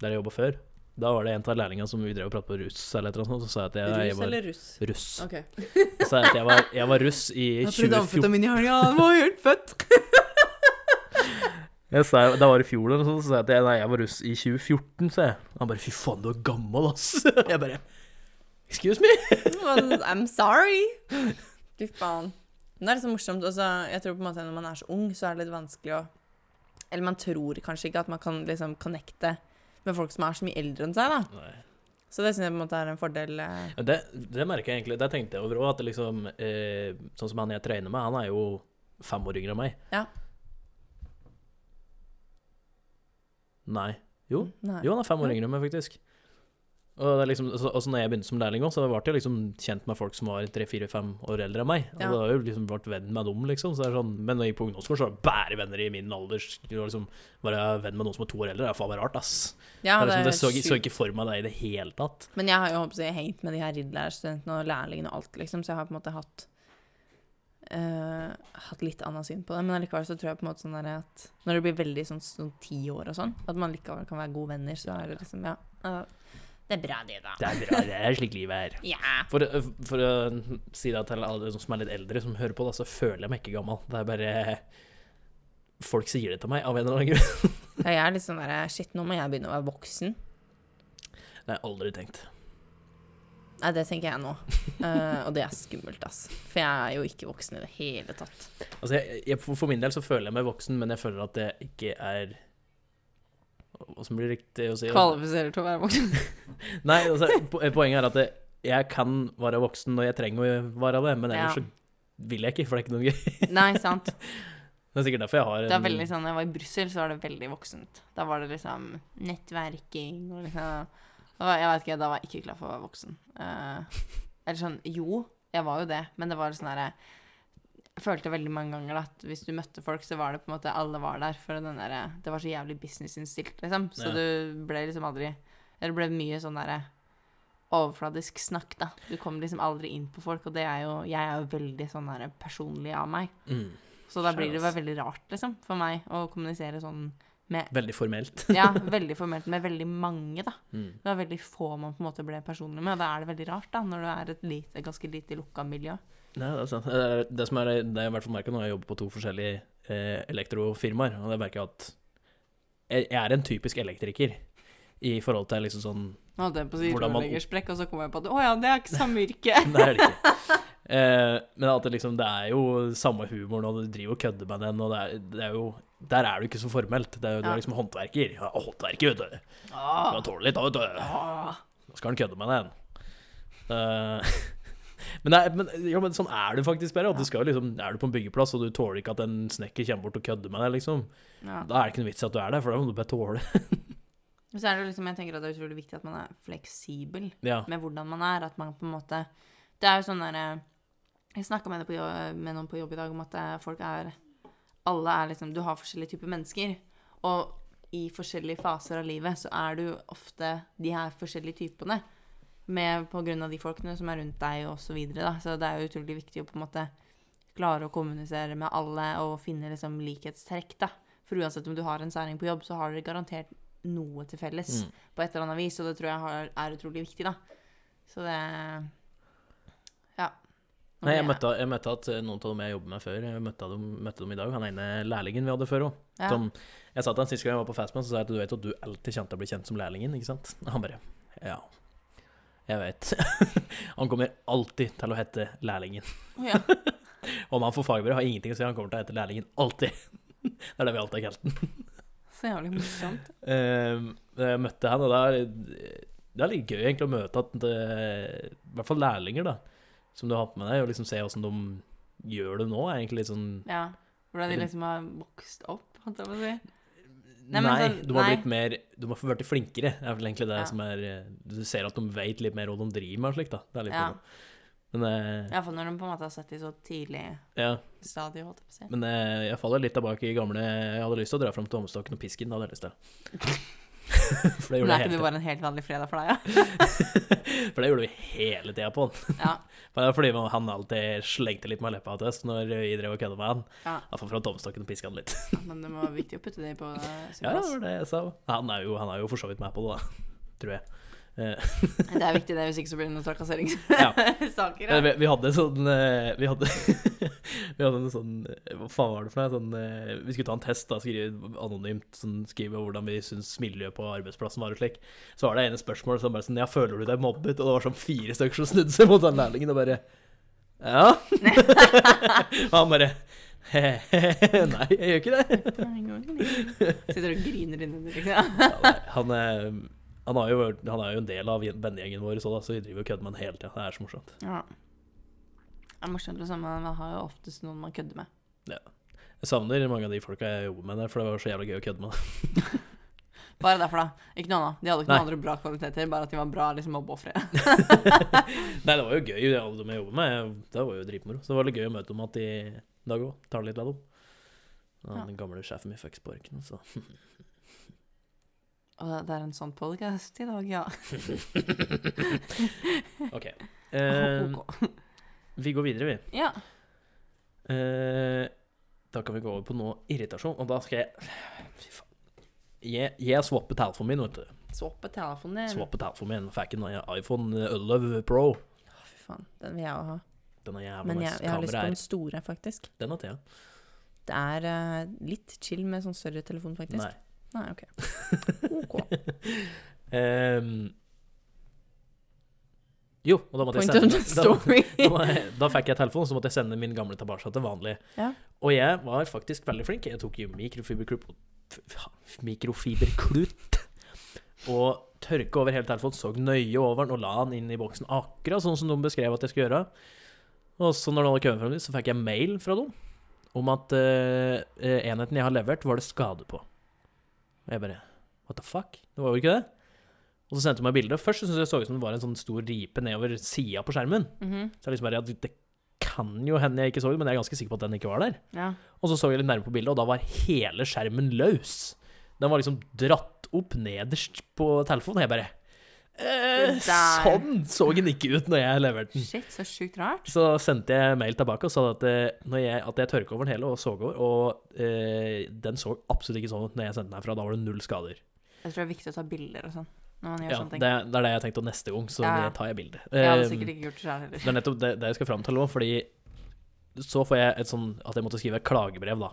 Speaker 1: der jeg jobba før. Da var det en av lærlingene som vi drev og pratet på russ eller et eller annet sånt, så sa jeg at jeg, jeg
Speaker 2: Rus
Speaker 1: var
Speaker 2: eller russ?
Speaker 1: russ.
Speaker 2: Ok.
Speaker 1: Så sa jeg at jeg var, jeg var russ i
Speaker 2: Jeg har
Speaker 1: 2014.
Speaker 2: prøvd amfetamin i helga, han var helt født.
Speaker 1: Jeg sa, da var det i fjor eller noe sånt, så sa jeg at jeg, nei, jeg var russ i 2014, sa jeg. Han bare 'fy faen, du er gammel, ass'. Jeg bare 'excuse me'.
Speaker 2: I'm sorry. Fy faen. Men det er så morsomt. Også, jeg tror på en måte Når man er så ung, så er det litt vanskelig å Eller man tror kanskje ikke at man kan liksom connecte med folk som er så mye eldre enn seg. da.
Speaker 1: Nei.
Speaker 2: Så det syns jeg på en måte er en fordel. eh.
Speaker 1: Ja, Det, det merker jeg egentlig. Det tenkte jeg over òg. At det liksom, eh, sånn som han jeg trener med, han er jo fem år yngre enn meg.
Speaker 2: Ja.
Speaker 1: Nei. Jo.
Speaker 2: Nei.
Speaker 1: Jo, han er fem år
Speaker 2: Ja.
Speaker 1: yngre enn meg, faktisk. Og det er liksom, altså, altså når jeg begynte som lærling òg, så ble jeg liksom kjent med folk som var tre-fire-fem år eldre enn meg. Og
Speaker 2: Ja.
Speaker 1: da har jeg jo liksom vært venn med dem, liksom. Så det er sånn, men når jeg gikk på ungdomsskolen, så var det bare venner i min alder. Det var Liksom, være venn med noen som var to år eldre, det er faen meg rart, ass.
Speaker 2: Ja,
Speaker 1: det, er liksom, det så,
Speaker 2: sjukt.
Speaker 1: så ikke for meg det i det hele tatt.
Speaker 2: Men jeg har jo håper jeg, hengt med de her ridderlærerstudentene og lærlingene og alt, liksom, så jeg har på en måte hatt eh, hatt litt annet syn på det. Men allikevel så tror jeg på en måte sånn der at når det blir veldig sånn, sånn ti år og sånn, at man likevel kan være gode venner, så er det liksom Ja. ja,
Speaker 4: Det er bra, det, da.
Speaker 1: Det er bra, det er slik livet er.
Speaker 4: Ja.
Speaker 1: For, eh, for å si det til alle som er litt eldre som hører på, da, så føler jeg meg ikke gammel. Det er bare Folk sier det til meg av en eller annen grunn.
Speaker 4: ja. Jeg er litt sånn der Shit, nå må jeg begynne å være voksen.
Speaker 1: Det har jeg aldri tenkt.
Speaker 4: Nei, det tenker jeg nå. Eh, og det er skummelt, ass. For jeg er jo ikke voksen i det hele tatt.
Speaker 1: Altså, jeg, jeg, for for min del så føler jeg meg voksen, men jeg føler at jeg ikke er Hva som blir riktig å si?
Speaker 2: Kvalifiserer til å være voksen.
Speaker 1: Nei, altså, po- poenget er at jeg, jeg kan være voksen når jeg trenger å være det, men ellers
Speaker 2: Ja.
Speaker 1: så vil jeg ikke, for det er ikke noe gøy.
Speaker 2: Nei, sant.
Speaker 1: Det er sikkert derfor jeg har
Speaker 2: Det er veldig sånn, jeg var i Brussel, så var det veldig voksent. Da var det liksom nettverking og liksom og Jeg vet ikke, da var jeg ikke klar for å være voksen. Eh, eller sånn Jo, jeg var jo det, men det var sånn herre Jeg følte veldig mange ganger at hvis du møtte folk, så var det på en måte Alle var der for den derre Det var så jævlig businessinnstilt, liksom. Så
Speaker 1: Ja.
Speaker 2: du ble liksom aldri Eller det ble mye sånn derre overfladisk snakk, da. Du kom liksom aldri inn på folk, og det er jo Jeg er jo veldig sånn derre personlig av meg.
Speaker 1: mm,
Speaker 2: Så da blir det jo
Speaker 1: Skjønner, ass.
Speaker 2: veldig rart, liksom, for meg å kommunisere sånn med
Speaker 1: veldig formelt.
Speaker 2: Ja, veldig formelt med veldig mange, da.
Speaker 1: Mm.
Speaker 2: Det var veldig få man på en måte ble personlig med, og da er det veldig rart, da, når du er et lite, ganske lite lukka miljø.
Speaker 1: Nei, det er sant. Eh, Det, er, det som er det jeg i hvert fall merker når jeg jobber på to forskjellige eh, elektrofirmaer, og det merker jeg at jeg, jeg er en typisk elektriker i forhold til liksom sånn
Speaker 2: Jeg Holdt jeg på å si
Speaker 1: Hvordan man-
Speaker 2: rørleggersprekk, og så kom jeg på at å ja, det er ikke samme yrke.
Speaker 1: Nei, det er det ikke. Eh, men at det liksom Det er jo samme humoren, og du driver og kødder med den, og det er, det er jo Der er du ikke så formelt. Det er jo, Du
Speaker 2: Ja.
Speaker 1: er liksom håndverker. Ja, håndverker, vet du. Du
Speaker 2: Åh,
Speaker 1: tåler litt, da, vet du.
Speaker 2: åh.
Speaker 1: Nå skal han kødde med den. Eh, men, det er, men, ja, men sånn er det faktisk bare. At du skal jo liksom, er du på en byggeplass og du tåler ikke at en snekker kommer bort og kødder med deg, liksom,
Speaker 2: Ja.
Speaker 1: da er det ikke noe vits i at du er der, for da må du bare tåle.
Speaker 2: Men Så er det jo liksom, jeg tenker at det er utrolig viktig at man er fleksibel
Speaker 1: Ja.
Speaker 2: med hvordan man er, at man på en måte Det er jo sånn derre Jeg snakka med, det på jo- med noen på jobb i dag om at eh, folk er Alle er liksom Du har forskjellige typer mennesker. Og i forskjellige faser av livet så er du ofte de her forskjellige typene. Med på grunn av de folkene som er rundt deg, og så videre. Da. Så det er jo utrolig viktig å på en måte klare å kommunisere med alle og finne liksom likhetstrekk, da. For uansett om du har en særing på jobb, så har dere garantert noe til felles
Speaker 1: Mm.
Speaker 2: på et eller annet vis, og det tror jeg har, er utrolig viktig, da. Så det Ja. Nå
Speaker 1: Nei, jeg
Speaker 2: ble
Speaker 1: møtte, jeg møtte at eh, noen av dem jeg jobber med før, jeg møtte dem, møtte dem i dag. Han ene lærlingen vi hadde før òg.
Speaker 2: ja.
Speaker 1: Sånn, Jeg sa til han sist gang jeg var på Fastman, så sa jeg at du vet at du alltid kjente å bli kjent som lærlingen, ikke sant? Og han bare ja. Jeg vet. han kommer alltid til å hete lærlingen.
Speaker 2: Å, ja.
Speaker 1: Om han får fagbrev, har ingenting å si. Han kommer til å hete lærlingen alltid. det er det vi alltid har kalt den.
Speaker 2: Så jævlig morsomt.
Speaker 1: Ehm, Jeg møtte han, og det er, det er litt gøy egentlig å møte at det, I hvert fall lærlinger, da, som du har hatt med deg, og liksom se åssen de gjør det nå, er egentlig litt sånn
Speaker 2: Ja. Hvordan de liksom har vokst opp, holdt jeg på å si.
Speaker 1: Nei,
Speaker 2: Nei, men sånn-
Speaker 1: de har
Speaker 2: nei.
Speaker 1: blitt mer De har blitt flinkere. Det er vel egentlig det
Speaker 2: Ja.
Speaker 1: som er eh, Du ser at de vet litt mer hva de driver med og slikt, da. Det er litt
Speaker 2: Ja.
Speaker 1: moro. Men, eh,
Speaker 2: Iallfall når de på en måte har sett det i så tidlig
Speaker 1: ja.
Speaker 2: stadie, holdt jeg på å si.
Speaker 1: men eh, jeg faller litt tilbake i gamle Jeg hadde lyst til å dra fram tommestokken og pisken, det hadde jeg lyst til. For det
Speaker 2: Men
Speaker 1: gjorde
Speaker 2: er
Speaker 1: jeg
Speaker 2: ikke det
Speaker 1: hele
Speaker 2: bare en helt vanlig fredag for deg,
Speaker 1: tida. For det gjorde vi hele tida på han.
Speaker 2: ja? ja.
Speaker 1: Men det er fordi han alltid slengte litt med leppa til oss når vi drev og kødda med han.
Speaker 2: Ja.
Speaker 1: Han får fra tommestokken og piska han litt.
Speaker 2: Men det var viktig å putte det på eh, sin
Speaker 1: Ja, det
Speaker 2: plass.
Speaker 1: var det jeg sa. Han er jo, han er jo for så vidt med på det, da. Tror jeg.
Speaker 2: Det er viktig, det, hvis ikke så blir det
Speaker 1: Ja.
Speaker 2: noen trakasseringssaker.
Speaker 1: Men Vi, vi hadde sånn eh, Vi hadde, vi hadde en sånn Hva faen var det for noe? Sånn, eh, vi skulle ta en test, da, skrive anonymt, sånn, skrive hvordan vi syns miljøet på arbeidsplassen var og slik. Så var det ene spørsmål som bare sånn Ja, føler du deg mobbet? Og det var sånn fire stykker som snudde seg mot den lærlingen og bare Ja. og han bare Nei, jeg gjør ikke det.
Speaker 2: Sitter og griner inni det, liksom.
Speaker 1: Ja, nei, han, er, han, har jo, vært- han er jo en del av vennegjengen vår, så, da, så vi driver og kødder med han hele tida. Det er så morsomt.
Speaker 2: Ja. Det er morsomt, liksom. men Man har jo oftest noen man kødder med.
Speaker 1: Jeg savner mange av de folka jeg jobber med der, for det var så jævla gøy å kødde med.
Speaker 2: Bare derfor, da. Ikke noe annet. De hadde ikke
Speaker 1: Nei.
Speaker 2: noen andre bra kvaliteter, bare at de var bra liksom, mobbeofre.
Speaker 1: Nei, det var jo gøy, det alle de jeg jobber med. Det var jo dritmoro. Så det var litt gøy å møte dem at de i dag òg tar det litt med dem. Han
Speaker 2: Ja.
Speaker 1: Den gamle sjefen min altså. fucks på orken, så
Speaker 2: Og det- det er en sånn podcast i dag, ja.
Speaker 1: OK. Eh,
Speaker 2: ok.
Speaker 1: vi går videre, vi.
Speaker 2: Ja.
Speaker 1: Eh, da kan vi gå over på noe irritasjon, og da skal jeg Fy faen. Jeg, jeg swapper telefonen min, vet du.
Speaker 4: Swappe telefonen din.
Speaker 1: Swappet her for meg en fucking iPhone 11 Pro.
Speaker 4: Å, Fy faen, den vil jeg jo ha.
Speaker 1: Den er jævla
Speaker 4: Men
Speaker 1: nice.
Speaker 4: jeg, jeg har lyst på
Speaker 1: Kameraet
Speaker 4: den store, faktisk.
Speaker 1: er Den har Thea.
Speaker 4: Det er eh, litt chill med sånn større telefon, faktisk.
Speaker 1: Nei.
Speaker 4: Nei, ok. Ok.
Speaker 1: Ehm. jo, og da måtte
Speaker 4: Point of
Speaker 1: jeg sende
Speaker 4: the story.
Speaker 1: da, må jeg- da fikk jeg telefon, så måtte jeg sende min gamle tilbake til vanlig.
Speaker 4: Ja.
Speaker 1: Og jeg var faktisk veldig flink. Jeg tok jo mikrofiberklut f- f- Mikrofiberklut og tørka over hele telefonen, så nøye over den og la den inn i boksen, akkurat sånn som de beskrev at jeg skulle gjøre. Og så når den hadde kommet frem dit, så fikk jeg mail fra dem om at eh, eh, enheten jeg har levert, var det skade på. Og jeg bare What the fuck? Det var jo ikke det. Og så sendte de meg bilde. Først så syntes jeg det så ut som det var en sånn stor ripe nedover sida på skjermen.
Speaker 4: Mhm.
Speaker 1: Så jeg liksom bare, ja, det- det kan jo hende jeg ikke så det, men jeg er ganske sikker på at den ikke var der.
Speaker 4: ja.
Speaker 1: Og så så jeg litt nærmere på bildet, og da var hele skjermen løs. Den var liksom dratt opp nederst på telefonen, og jeg bare eh,
Speaker 4: Det der.
Speaker 1: Sånn så den ikke ut når jeg leverte den.
Speaker 2: Shit, så sjukt rart.
Speaker 1: Så sendte jeg mail tilbake og sa at, eh, når jeg, at jeg tørka over den hele og så over, og eh, den så absolutt ikke sånn ut når jeg sendte den herfra. Da var det null skader.
Speaker 2: Jeg tror det er viktig å ta bilder og sånn når man gjør
Speaker 1: Ja,
Speaker 2: sånne
Speaker 1: det,
Speaker 2: ting.
Speaker 1: det er det jeg tenkte, og neste gang så
Speaker 2: Ja.
Speaker 1: tar jeg bilde.
Speaker 2: Jeg hadde
Speaker 1: Eh,
Speaker 2: sikkert ikke gjort det sjøl heller.
Speaker 1: Det er nettopp det, det jeg skal fram til nå, fordi så får jeg et sånn at jeg måtte skrive et klagebrev, da.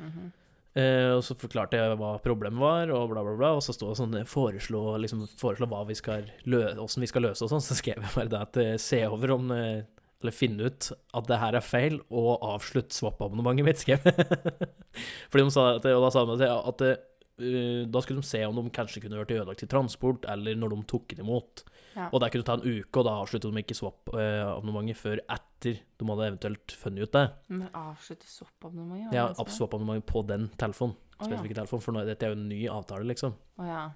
Speaker 4: Mhm.
Speaker 1: Eh, og så forklarte jeg hva problemet var, og bla, bla, bla. Og så sto det sånn eh, foreslå, liksom, foreslå hva vi skal lø- hvordan vi skal løse og sånn. Så skrev jeg bare det at eh, se over om eh, Eller finne ut at det her er feil, og avslutt swap-abonnementet mitt, skrev jeg. Fordi de sa at, og da sa de at, at eh, da skulle de se om de kanskje kunne vært ødelagt i transport, eller når de tok den imot.
Speaker 4: Ja.
Speaker 1: Og der kunne det ta en uke, og da avsluttet de ikke swap-abonnementet før etter de hadde eventuelt funnet ut det.
Speaker 4: Men avslutte soppabonnementet?
Speaker 1: Jeg har swap-abonnement på den telefonen,
Speaker 4: Å ja.
Speaker 1: spesifikke telefonen, for nå, dette er jo en ny avtale, liksom.
Speaker 4: Å ja.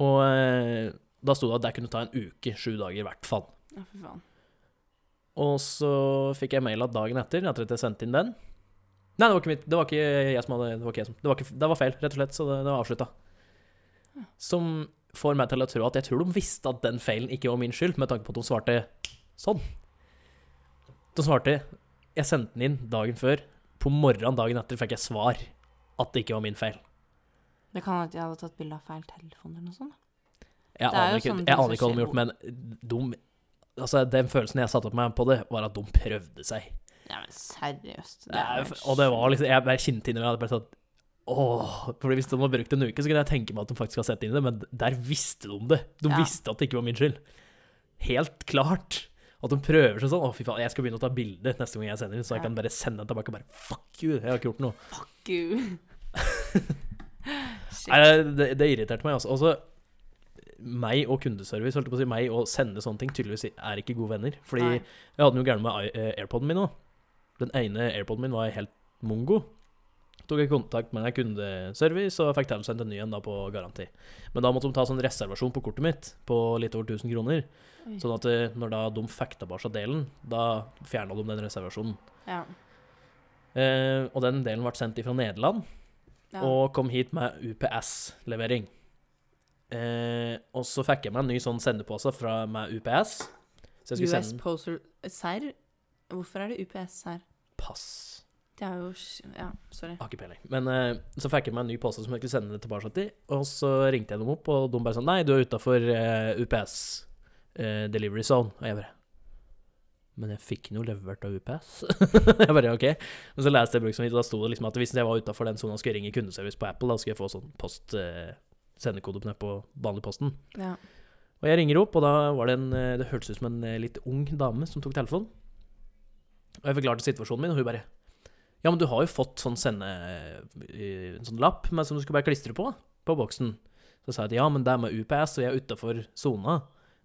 Speaker 1: Og eh, da sto det at det kunne ta en uke, sju dager i hvert fall.
Speaker 4: Ja, fy faen.
Speaker 1: Og så fikk jeg mail at dagen etter, etter at jeg sendte inn den Nei, det var ikke mitt. Det var ikke jeg som hadde Det var, ikke jeg som, det var, ikke, det var feil, rett og slett, så det, det var avslutta. Som får meg til å tro at jeg tror de visste at den feilen ikke var min skyld, med tanke på at de svarte sånn. De svarte Jeg sendte den inn dagen før. På morgenen dagen etter fikk jeg svar at det ikke var min feil.
Speaker 2: Det kan at jeg hadde tatt bilde av feil telefon eller noe sånt.
Speaker 1: Jeg
Speaker 2: Det er jo
Speaker 1: aner ikke,
Speaker 2: sånn sånne ting
Speaker 1: jeg
Speaker 2: som
Speaker 1: aner ikke hva de har gjort, men de, altså, den følelsen jeg satte opp meg på det, var at de prøvde seg.
Speaker 4: Ja, men seriøst.
Speaker 1: Det er, jo- og det var liksom Jeg bare kjente inni meg at jeg bare sånn Åh, fordi Hvis de hadde brukt en uke, så kunne jeg tenke meg at de faktisk har sett inn i det, men der visste de det. De
Speaker 2: Ja.
Speaker 1: visste at det ikke var min skyld. Helt klart. At de prøver seg sånn. Å, fy faen, jeg skal begynne å ta bilde neste gang jeg sender inn, så jeg
Speaker 2: Ja.
Speaker 1: kan bare sende den tilbake og bare Fuck you, jeg har ikke gjort noe.
Speaker 4: Gud. Shit.
Speaker 1: Nei, det, det irriterte meg, altså. Og så meg og kundeservice, holdt jeg på å si, meg og sende sånne ting, tydeligvis er ikke gode venner. Fordi
Speaker 4: Nei.
Speaker 1: jeg hadde noe gærent med i- eh, airpoden min òg. Den ene airpoden min var helt mongo. Tok jeg kontakt med kundeservice og fikk tilsendt en ny en da på garanti. Men da måtte de ta sånn reservasjon på kortet mitt på litt over 1000 kroner.
Speaker 4: Oi.
Speaker 1: Sånn at eh, når da de fikk tilbake delen, da fjerna de den reservasjonen.
Speaker 4: Ja.
Speaker 1: Eh, og den delen ble sendt ifra Nederland
Speaker 4: Ja.
Speaker 1: og kom hit med UPS-levering. Eh, og så fikk jeg meg en ny sånn sendepose fra, med UPS. Så jeg skulle
Speaker 4: US
Speaker 1: sende
Speaker 4: Postal Serr? Hvorfor er det UPS her?
Speaker 1: pass.
Speaker 4: Det er jo sj- Ja, sorry.
Speaker 1: Har ikke peiling. Men eh, så fikk jeg meg en ny pose som jeg skulle sende det tilbake til. Og så ringte jeg dem opp, og de bare sånn Nei, du er utafor eh, UPS eh, delivery zone. Og jeg bare Men jeg fikk den jo levert av UPS. jeg bare OK. Men så leste jeg bruksomhet, og da sto det liksom at hvis jeg var utafor den sona og skulle ringe kundeservice på Apple, da skulle jeg få sånn post eh, sendekode på- på vanlig posten.
Speaker 4: Ja.
Speaker 1: Og jeg ringer opp, og da var det en eh, Det hørtes ut som en eh, litt ung dame som tok telefonen. Og jeg forklarte situasjonen min, og hun bare Ja, men du har jo fått sånn sende... eh, En sånn lapp men som du skulle bare klistre på, på boksen. Så sa jeg at ja, men det er med UPS, og jeg er utafor sona.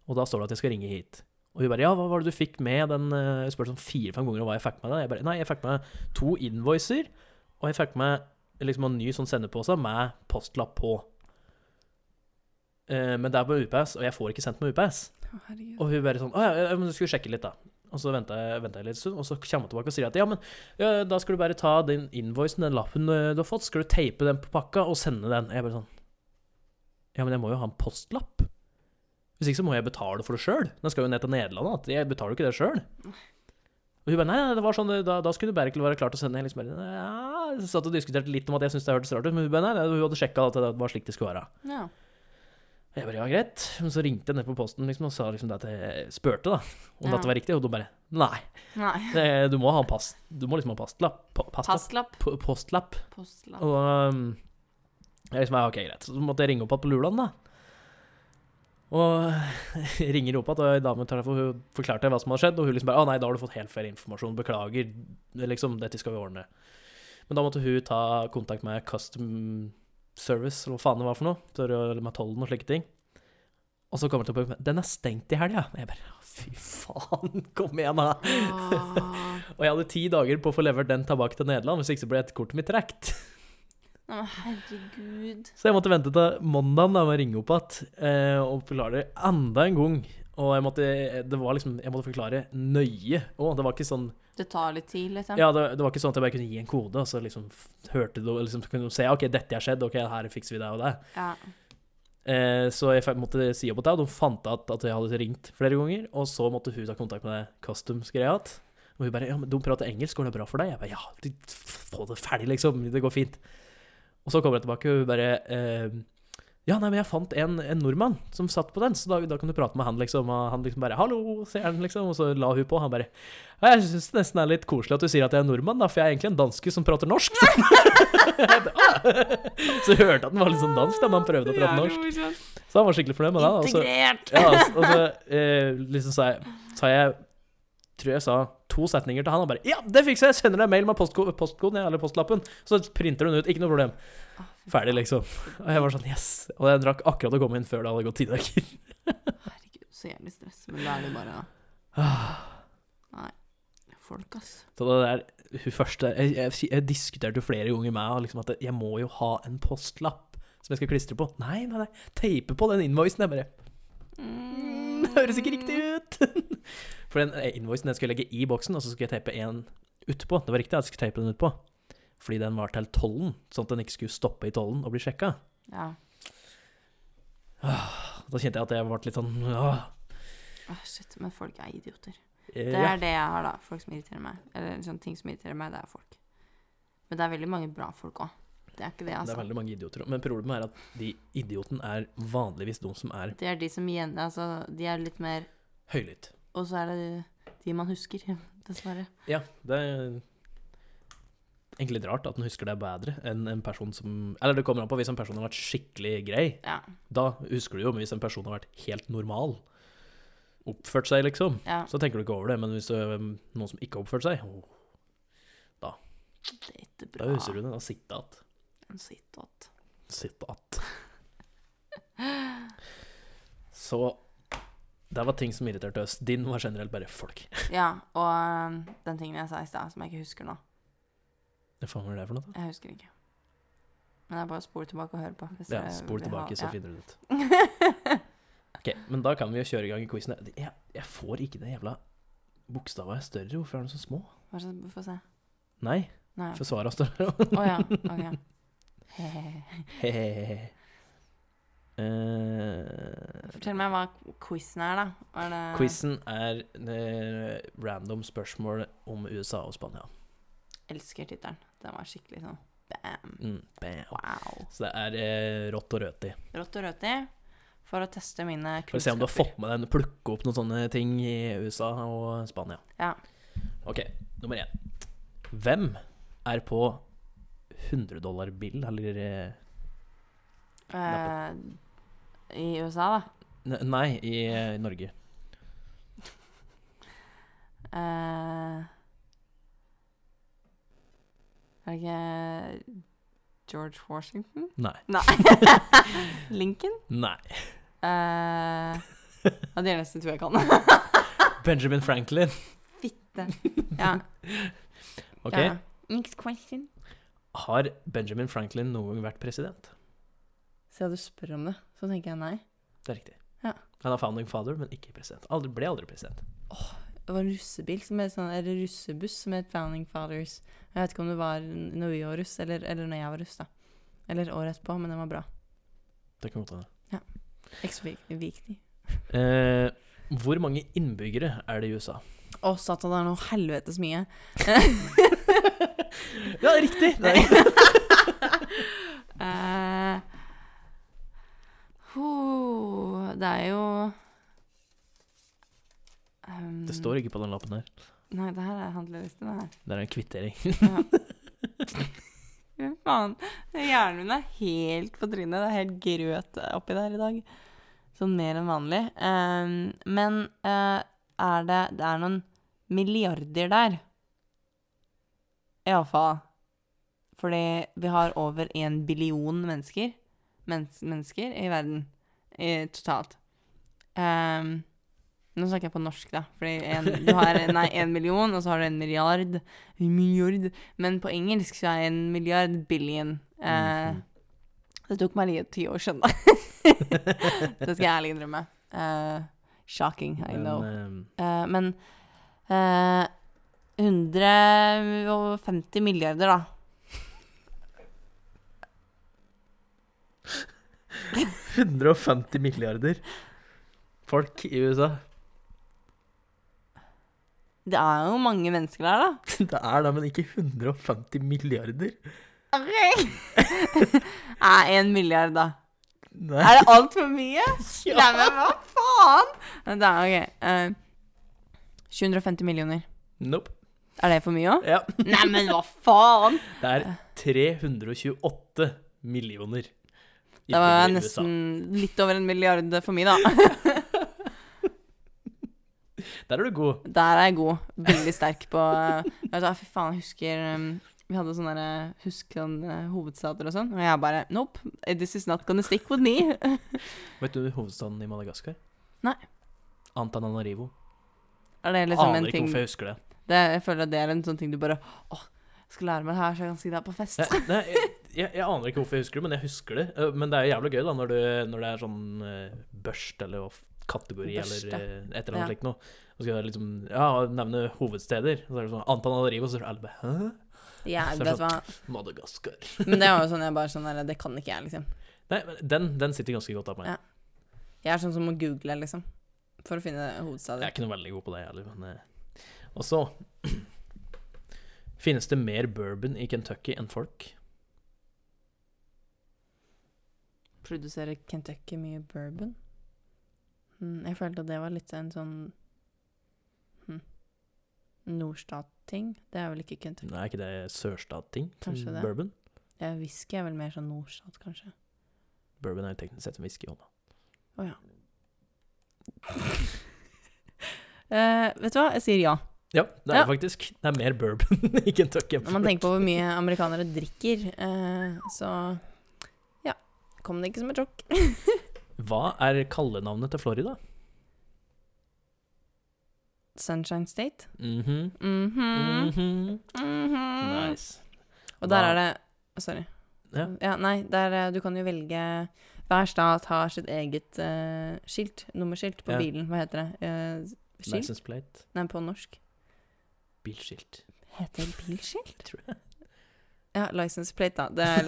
Speaker 1: Og da står det at jeg skal ringe hit. Og hun bare ja, hva var det du fikk med den eh, Jeg spurte sånn fire-fem ganger om hva jeg fikk med den. Jeg bare nei, jeg fikk med to invoicer, og jeg fikk med liksom en ny sånn sendepose med postlapp på. Eh, men det er på UPS, og jeg får ikke sendt med UPS.
Speaker 4: Å, herregud.
Speaker 1: Og hun bare sånn Å ja, ja, men du skulle sjekke litt, da. Og så venta jeg, ventet jeg litt stund, og så kommer hun tilbake og sier at ja, men ja, da skal du bare ta den invoicen, den lappen eh, du har fått, skal du teipe den på pakka og sende den. Jeg bare sånn Ja, men jeg må jo ha en postlapp. Hvis ikke så må jeg betale for det sjøl. Den skal jo ned til Nederland. da. Jeg betaler jo ikke det sjøl. Og hun bare nei, nei, det var sånn, eh, da, da skulle du bare ikke være klar til å sende. Jeg liksom bare ja, jeg satt og diskuterte litt om at jeg syntes det hørtes rart ut, men hun bare nei, nei, hun hadde sjekka at det var slik det skulle være.
Speaker 4: Ja.
Speaker 1: Og jeg bare, ja, greit. Men så ringte jeg ned på posten liksom, og sa liksom det at jeg spurte da, om
Speaker 2: Ja.
Speaker 1: dette var riktig. Og de bare nei,
Speaker 2: Nei.
Speaker 1: det, du, må ha en pass, du må liksom ha pastlapp. pa- Pastlapp?
Speaker 2: Passlapp.
Speaker 1: Po- Postlapp.
Speaker 2: Postlapp.
Speaker 1: Og um, jeg liksom, ja, ok, greit. Så måtte jeg ringe opp igjen på Luland, da. Og ringer opp igjen, og ei dame tar det for hun forklarte hva som hadde skjedd. Og hun liksom bare Å nei, da har du fått helt feil informasjon. Beklager. Det er Liksom, dette skal vi ordne. Men da måtte hun ta kontakt med Custom Service, eller hva faen det var for noe. For å- eller Med tollen og slike ting. Og så kommer det opp Den er stengt i helga. Og jeg bare «Å, Fy faen, kom igjen, da.
Speaker 2: Åh.
Speaker 1: Og jeg hadde ti dager på å få levert den tilbake til Nederland, hvis ikke så ble et kortet mitt trukket.
Speaker 2: Nei, men herregud.
Speaker 1: Så jeg måtte vente til mandagen da med å ringe opp igjen eh, og forklare enda en gang. Og jeg måtte, det var liksom, jeg måtte forklare nøye. Å, det var ikke sånn
Speaker 2: Det tar litt tid, liksom.
Speaker 1: Ja, det, det var ikke sånn at jeg bare kunne gi en kode, og så liksom f- hørte du eller liksom så kunne du se OK, dette har skjedd, OK, her fikser vi det og det.
Speaker 2: Ja.
Speaker 1: Eh, så jeg fe- måtte si opp og ta, og de fant at, at jeg hadde ringt flere ganger. Og så måtte hun ta kontakt med customs-greia igjen. Og hun bare Ja, men de prater engelsk, går det bra for deg? Jeg bare Ja, du, f- få det ferdig, liksom. Det går fint. Og så kommer jeg tilbake, og hun bare eh, Ja, nei, men jeg fant en, en nordmann som satt på den, så da, da kan du prate med han, liksom. Og han liksom bare Hallo, sier han, liksom. Og så la hun på, og han bare Ja, jeg syns det nesten er litt koselig at du sier at jeg er nordmann, da, for jeg er egentlig en danske som prater norsk. Så, så jeg hørte at den var litt sånn dansk, da, men han prøvde å prate norsk. Så han var skikkelig fornøyd med det. da, Og så,
Speaker 2: sånn Integrert!
Speaker 1: ja, og så eh, liksom sa jeg, sa jeg Tror jeg sa to setninger til han, og bare 'Ja, det fikser jeg! Sender deg mail med postko postkoden, ja, eller postlappen.' Så printer hun ut. Ikke noe problem. Ferdig, liksom. Og jeg var sånn 'yes'. Og jeg drakk akkurat å komme inn før det hadde gått ti dager.
Speaker 2: Herregud, så jævlig stress. Men da er det bare
Speaker 1: Ah.
Speaker 2: Nei. Folk, ass.
Speaker 1: Så det der hun første Jeg, jeg, jeg diskuterte jo flere ganger med henne liksom, at jeg må jo ha en postlapp som jeg skal klistre på. Nei, nei, nei. Teipe på den invoicen. Jeg bare Mm, det høres ikke riktig ut. For den eh, invoicen den skulle jeg legge i boksen, og så skulle jeg teipe en utpå. Det var riktig, jeg skulle teipe den utpå. Fordi den var til tollen, sånn at den ikke skulle stoppe i tollen og bli sjekka.
Speaker 2: Ja.
Speaker 1: Da kjente jeg at jeg ble litt sånn åh,
Speaker 2: Åh, shit, men folk er idioter.
Speaker 1: eh,
Speaker 2: Det
Speaker 1: ja.
Speaker 2: er det jeg har, da. Folk som irriterer meg. Eller sånne ting som irriterer meg, det er folk. Men det er veldig mange bra folk òg. Det er ikke det,
Speaker 1: Det er
Speaker 2: altså.
Speaker 1: veldig mange idioter. Men problemet er at de idioten er vanligvis de som er
Speaker 2: Det er de som igjen Altså, de er litt mer
Speaker 1: høylytt.
Speaker 2: Og så er det de- de man husker, dessverre.
Speaker 1: Ja, det er egentlig litt rart at den husker deg bedre enn en person som Eller det kommer an på hvis en person har vært skikkelig grei.
Speaker 2: Ja.
Speaker 1: Da husker du jo, men hvis en person har vært helt normal, oppført seg liksom,
Speaker 2: ja.
Speaker 1: så tenker du ikke over det. Men hvis det er noen som ikke har oppført seg, åh,
Speaker 2: Det er ikke bra.
Speaker 1: da husker du det. Da sitter att.
Speaker 2: En sitat.
Speaker 1: Sitt att. Så det var ting som irriterte oss. Din var generelt bare folk.
Speaker 2: Ja, og øhm, den tingen jeg sa i stad, som jeg ikke husker nå.
Speaker 1: Hva faen var det for noe? da?
Speaker 2: Jeg husker ikke. Men det er bare å spole tilbake og høre på. hvis
Speaker 1: Ja,
Speaker 2: dere
Speaker 1: spol
Speaker 2: vil ha-
Speaker 1: tilbake, så
Speaker 2: ja.
Speaker 1: finner du det ut. Ok, Men da kan vi jo kjøre i gang i quizen. Jeg, jeg får ikke det jævla Bokstavene er større, hvorfor er de så små?
Speaker 2: Hva slags Få se.
Speaker 1: Nei,
Speaker 2: Nei.
Speaker 1: for svarene er større.
Speaker 2: Å ja. Ok. Hehehe.
Speaker 1: Hehehe. Eh,
Speaker 2: Fortell meg hva quizen er, da. Var det
Speaker 1: Quizen er eh, random spørsmål om USA og Spania.
Speaker 2: Elsker tittelen. Den var skikkelig sånn bam.
Speaker 1: Mm, bam.
Speaker 2: Wow.
Speaker 1: Så det er eh, rått og rødt i.
Speaker 2: Rått og rødt i. For å teste mine kunnskaper.
Speaker 1: For å se om du har fått med deg plukke opp noen sånne ting i USA og Spania.
Speaker 2: Ja.
Speaker 1: Ok, nummer én. Hvem er på 100 dollar bill, eller eh,
Speaker 2: Eh, I USA, da.
Speaker 1: ne- Nei, i eh, Norge.
Speaker 2: Eh, er det ikke George Washington?
Speaker 1: Nei.
Speaker 2: Nei. Lincoln?
Speaker 1: Nei.
Speaker 2: Eh, ja, det er nesten to jeg kan.
Speaker 1: Benjamin Franklin.
Speaker 2: Fitte. Ja.
Speaker 1: Ok.
Speaker 2: ja. Next question.
Speaker 1: Har Benjamin Franklin noen gang vært president?
Speaker 2: Siden du spør om det, så tenker jeg nei.
Speaker 1: Det er riktig.
Speaker 2: Ja.
Speaker 1: Han er founding father, men ikke president. Aldri, ble aldri president.
Speaker 2: Det var en russebil som het sånn, eller russebuss som het Founding Fathers. Jeg vet ikke om det var når vi var russ, eller, eller når jeg var russ, da. Eller året etterpå, men den var bra.
Speaker 1: Det kan godt hende.
Speaker 2: Ikke så vik- viktig.
Speaker 1: Eh, hvor mange innbyggere er det i USA?
Speaker 2: Å, satan, det er noe helvetes mye.
Speaker 1: Ja, riktig! Nei.
Speaker 2: Eh, ho, Mm.
Speaker 1: står ikke på den lappen her.
Speaker 2: ehm, Nei, det her er handleliste, det her.
Speaker 1: Det er en kvittering.
Speaker 2: Ja. Fy faen. Hjernen min er helt på trynet. Det er helt grøt oppi der i dag. Sånn mer enn vanlig. Ehm, men eh, er det Det er noen milliarder der. Iallfall. Fordi vi har over en billion mennesker, mens, mennesker i verden eh, totalt. Ehm, nå snakker jeg på norsk, da. Fordi en, du har nei, en million, og så har du en milliard. En milliard. Men på engelsk så er en milliard billion. Eh,
Speaker 1: Mhm.
Speaker 2: Det tok meg like ti år å skjønne. det skal jeg ærlig innrømme. Eh, shocking, I know.
Speaker 1: Men,
Speaker 2: Eh, men eh, 150 milliarder, da.
Speaker 1: eh, 150 milliarder folk i USA.
Speaker 2: Det er jo mange mennesker der, da.
Speaker 1: Det er da, men ikke 150 milliarder.
Speaker 2: Ok. Nei, en milliard, da.
Speaker 1: Nei.
Speaker 2: Er det altfor mye? Nei, men hva faen? Men Da, ok. eh, 750 millioner.
Speaker 1: Nope.
Speaker 2: Er det for mye òg?
Speaker 1: Ja.
Speaker 2: Nei, men hva faen?
Speaker 1: Det er 328 millioner.
Speaker 2: Da var jeg
Speaker 1: innbyggere i USA.
Speaker 2: nesten litt over en milliard for mye, da.
Speaker 1: Der er du god.
Speaker 2: Der er jeg god. Veldig sterk på Vet du, hva, Fy faen, jeg husker um, Vi hadde sånne der, husk sånn eh, hovedstater og sånn, og jeg bare Nope, this is not gonna stick with me.
Speaker 1: Vet du hovedstaden i Madagaskar?
Speaker 2: Nei.
Speaker 1: Antananarivo.
Speaker 2: Er det liksom
Speaker 1: Aner
Speaker 2: en
Speaker 1: ikke
Speaker 2: ting
Speaker 1: hvorfor jeg husker det.
Speaker 2: det, Jeg føler at det er en sånn ting du bare Åh, jeg skal lære meg det her, så jeg kan si det her på fest.
Speaker 1: Nei, nei, jeg, jeg, jeg aner ikke hvorfor jeg husker det, men jeg husker det. Eh, Men det er jo jævlig gøy da, når, du, når det er sånn eh, børst eller hva f- kategori
Speaker 2: Børste.
Speaker 1: eller eh, et eller
Speaker 2: Ja.
Speaker 1: annet slikt noe. Og så skal jeg liksom, ja, nevne hovedsteder. Og så er det sånn Antananarivo, så er det alle bare, hæ?
Speaker 2: Ja,
Speaker 1: Så er det
Speaker 2: vet du hva.
Speaker 1: Madagaskar.
Speaker 2: Men det er jo sånn jeg bare sånn der, Det kan ikke jeg, liksom.
Speaker 1: Nei, men den, den sitter ganske godt av meg.
Speaker 2: Ja. Jeg er sånn som må google, liksom. For å finne
Speaker 1: Jeg er
Speaker 2: hovedstader.
Speaker 1: ikke noe veldig god på det heller, men eh. Og så Finnes det mer bourbon i Kentucky enn folk?
Speaker 2: Produserer Kentucky mye bourbon? Mm, jeg følte at det var litt en sånn hm, Nordstat-ting. Det er vel ikke Kentucky.
Speaker 1: Nei, er ikke det sørstatting?
Speaker 2: Kanskje det.
Speaker 1: Bourbon?
Speaker 2: Ja, whisky er vel mer sånn Nordstat, kanskje.
Speaker 1: Bourbon er jo teknisk sett en whisky òg, da.
Speaker 2: Å ja. Eh, vet du hva, jeg sier ja.
Speaker 1: Ja, det er
Speaker 2: Ja.
Speaker 1: det faktisk. Det er mer bourbon i Kentucky enn
Speaker 2: Når man tenker på hvor mye amerikanere drikker, eh, så ja. Kom det ikke som et sjokk.
Speaker 1: Hva er kallenavnet til Florida?
Speaker 2: Sunshine State.
Speaker 1: Mhm.
Speaker 2: Mhm.
Speaker 1: Mhm.
Speaker 2: Mhm.
Speaker 1: Nice.
Speaker 2: Og der
Speaker 1: Hva-
Speaker 2: er det Sorry.
Speaker 1: Ja.
Speaker 2: nei, der, eh, du kan jo velge Hver stat har sitt eget eh, skilt. Nummerskilt på
Speaker 1: Ja.
Speaker 2: bilen. Hva heter det? Eh, skilt?
Speaker 1: License plate.
Speaker 2: Nei, på norsk.
Speaker 1: Bilskilt.
Speaker 2: Heter det bilskilt?
Speaker 1: Tror
Speaker 2: jeg. Ja, license plate, da. Det er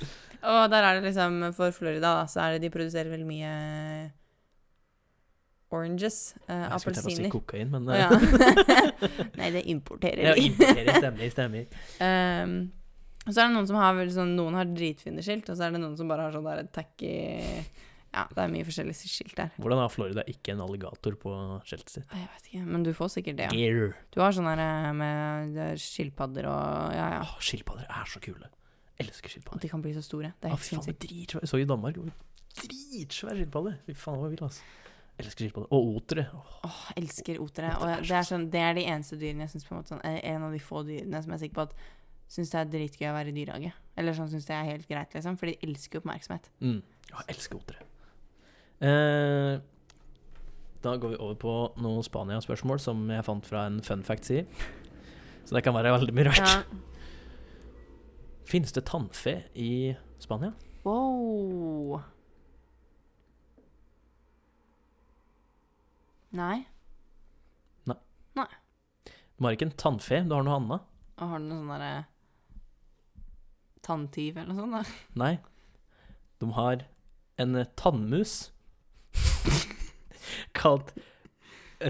Speaker 2: Og der er det liksom For Florida, da, så er det De produserer vel mye oranges. Eh,
Speaker 1: Jeg skulle til å si
Speaker 2: Appelsiner.
Speaker 1: kokain, men
Speaker 2: Å,
Speaker 1: eh,
Speaker 2: ja. Nei, det importerer
Speaker 1: ja,
Speaker 2: de.
Speaker 1: Stemmer, stemmer. stemmer.
Speaker 2: Ehm, og så er det noen som har vel sånn Noen har dritfine skilt, og så er det noen som bare har sånn der tacky Ja, det er mye forskjellige skilt der.
Speaker 1: Hvordan har Florida ikke en alligator på skiltet sitt?
Speaker 2: Nei, Jeg vet ikke, men du får sikkert det, ja.
Speaker 1: Deer.
Speaker 2: Du har sånn der eh, med det er skilpadder og Ja, ja.
Speaker 1: Åh, Skilpadder er så kule. Elsker skilpadder.
Speaker 2: At de kan bli så store. Det er
Speaker 1: Ah,
Speaker 2: helt
Speaker 1: fy faen, det
Speaker 2: sinnssykt.
Speaker 1: er dritsvær. Jeg så i Danmark. det var Dritsvær skilpadde. Fy faen, hva vil, altså. Elsker skilpadde. Og otere. Åh,
Speaker 2: Åh, elsker otere.
Speaker 1: Otere er
Speaker 2: Og jeg-
Speaker 1: så
Speaker 2: det er sånn Det er de eneste dyrene jeg syns på en måte sånn er En av de få dyrene som jeg er sikker på at syns det er dritgøy å være i dyrehage. Eller sånn syns det er helt greit, liksom. For de elsker jo oppmerksomhet.
Speaker 1: Mm. Ja, jeg elsker otere. Eh, da går vi over på noen Spania-spørsmål som jeg fant fra en fun fact-side. Så det kan være veldig mye rart.
Speaker 2: Ja.
Speaker 1: Finnes det tannfe i Spania?
Speaker 2: Wow. Nei.
Speaker 1: Du har ikke en tannfe, du har noe annet.
Speaker 2: Og har du noe sånn derre Tanntyv eller noe sånt? da?
Speaker 1: Nei. De har en eh, tannmus kalt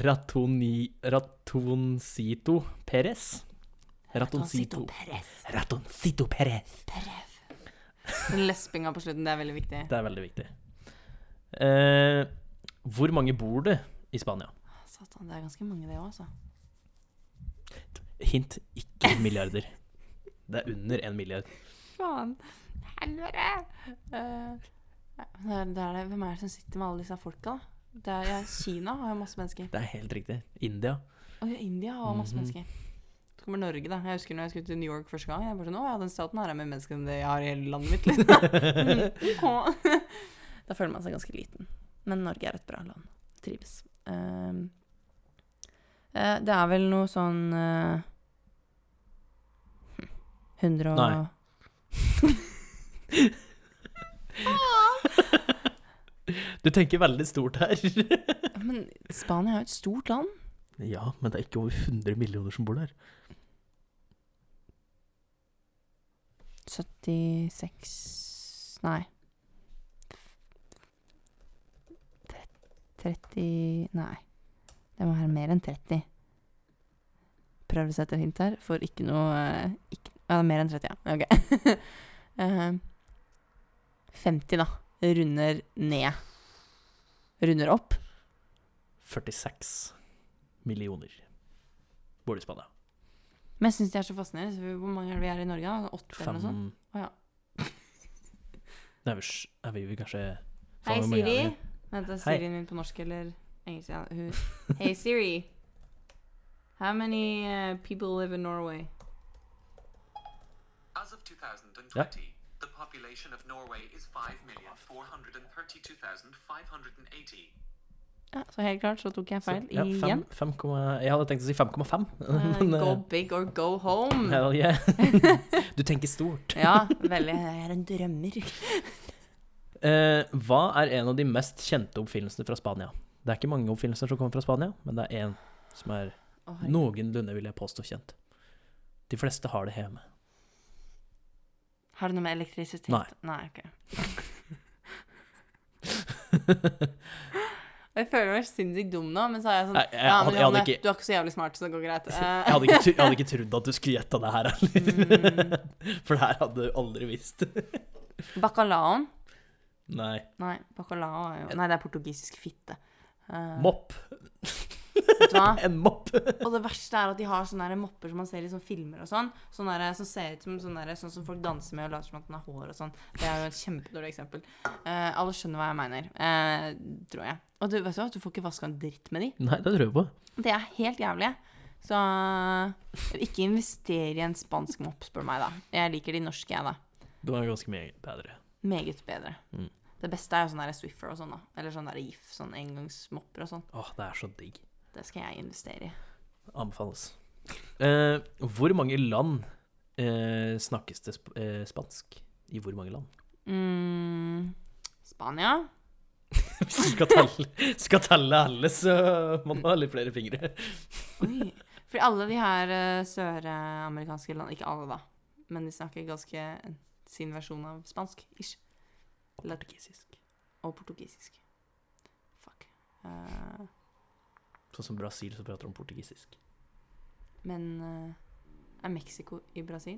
Speaker 1: Ratoni, Ratoncito Perez. Ratoncito.
Speaker 2: Perez.
Speaker 1: Ratoncito Perez.
Speaker 2: Den lespinga på slutten, det er veldig viktig.
Speaker 1: Det er veldig viktig. Eh, hvor mange bor det i Spania?
Speaker 2: Satan, det er ganske mange, det òg, altså.
Speaker 1: Hint ikke milliarder. Det er under én milliard.
Speaker 2: Faen. Helvete! Eh, det er, det er det. Hvem er det som sitter med alle disse folka, da? Det er, ja, Kina har jo masse mennesker.
Speaker 1: Det er helt riktig. India.
Speaker 2: Og India har masse
Speaker 1: Mhm.
Speaker 2: mennesker. Så kommer Norge, da. Jeg husker når jeg skulle til New York første gang. Jeg bare sånn, Å ja, den staten her er mer mennesker enn det jeg har i hele landet mitt. liksom. Ok. da føler man seg ganske liten. Men Norge er et bra land. Trives. Ehm, eh, det er vel noe sånn eh, hm, 100 og
Speaker 1: Nei. Ah. Du tenker veldig stort her.
Speaker 2: Ja, Men Spania er jo et stort land.
Speaker 1: ja, men det er ikke over 100 millioner som bor der.
Speaker 2: 76 Nei. 30 Nei. Det må være mer enn 30. Prøver å sette et hint her, for ikke noe eh, ikke, Ja, det er mer enn 30, ja. Ok. Eh, 50, da. Runder ned. Runder opp.
Speaker 1: 46 millioner bor i Spania.
Speaker 2: Men jeg syns de er så fascinerende. så Hvor mange er det vi er i Norge? da? Åtte eller
Speaker 1: Fem
Speaker 2: noe sånt? Å, ja.
Speaker 1: Nei, vi s- er vi vel kanskje Faen,
Speaker 2: Hei,
Speaker 1: hvor mange er
Speaker 2: Siri.
Speaker 1: det?
Speaker 2: Vent, er
Speaker 1: Hei.
Speaker 2: Sirien min på norsk eller engelsk? Ja, hun. Hey, Siri. How many uh, people live in Norway?
Speaker 5: As of 2020, the population of Norway is 5,432,580.
Speaker 2: Ja, så helt klart så tok jeg
Speaker 1: Så-
Speaker 2: feil
Speaker 1: ja, fem-
Speaker 2: igjen.
Speaker 1: 5,1 jeg hadde tenkt å si 5,5.
Speaker 2: Uh,
Speaker 1: men,
Speaker 2: go
Speaker 1: eh,
Speaker 2: big or go home.
Speaker 1: hell yeah. Du tenker stort.
Speaker 2: Ja, veldig. Jeg er en drømmer.
Speaker 1: Eh, hva er en av de mest kjente oppfinnelsene fra Spania? Det er ikke mange oppfinnelser som kommer fra Spania, men det er én som er
Speaker 2: Å, herregud.
Speaker 1: noenlunde, vil jeg påstå, kjent. De fleste har det hjemme.
Speaker 2: Har det noe med elektrisitet?
Speaker 1: Nei.
Speaker 2: Nei, ok. Jeg føler meg sinnssykt dum nå, men så er jeg sånn
Speaker 1: Nei, jeg
Speaker 2: Ja,
Speaker 1: hadde-
Speaker 2: men
Speaker 1: jeg hadde
Speaker 2: Johanne,
Speaker 1: ikke-
Speaker 2: du er ikke så jævlig smart, så det går greit.
Speaker 1: Jeg hadde ikke, tro- jeg hadde ikke trodd at du skulle gjette det her
Speaker 2: Eh,
Speaker 1: heller. For det her hadde du aldri visst.
Speaker 2: Bacalaoen?
Speaker 1: Nei.
Speaker 2: mm. Nei, bacalao er jo Nei, det er portugisisk fitte. Eh,
Speaker 1: Mopp.
Speaker 2: Vet du hva?
Speaker 1: En mopp.
Speaker 2: Og det verste er at de har sånne der mopper som man ser i sånne filmer og sånn. Sånne der, som ser ut som sånne, der, sånn som folk danser med og later som at den har hår og sånn. Det er jo et kjempedårlig eksempel. Eh, alle skjønner hva jeg mener, eh, tror jeg. Og du vet du hva, du får ikke vaska en dritt med de.
Speaker 1: Nei, det tror jeg på.
Speaker 2: Det er helt jævlig. Så eh, ikke invester i en spansk mopp, spør meg, da. Jeg liker de norske, jeg, da.
Speaker 1: Det var ganske mye bedre.
Speaker 2: Meget bedre.
Speaker 1: Mm.
Speaker 2: Det beste er jo sånn der Swiffer og sånn, da. Eller sånn der GIF, sånn engangsmopper og sånn.
Speaker 1: Åh, det er så digg.
Speaker 2: Det skal jeg investere i.
Speaker 1: Anbefales. Eh, hvor mange land eh, snakkes det sp eh, spansk? I hvor mange land?
Speaker 2: Mm, Spania.
Speaker 1: Hvis du skal telle, skal telle alle, så må man ha litt flere fingre.
Speaker 2: Oi. For alle de her eh, søramerikanske land Ikke alle, da. Men de snakker ganske sin versjon av spansk. Ish. Portugisisk. Og portugisisk. Fuck. Eh,
Speaker 1: Sånn som Brasil, så prater de portugisisk.
Speaker 2: men eh, er Mexico i Brasil?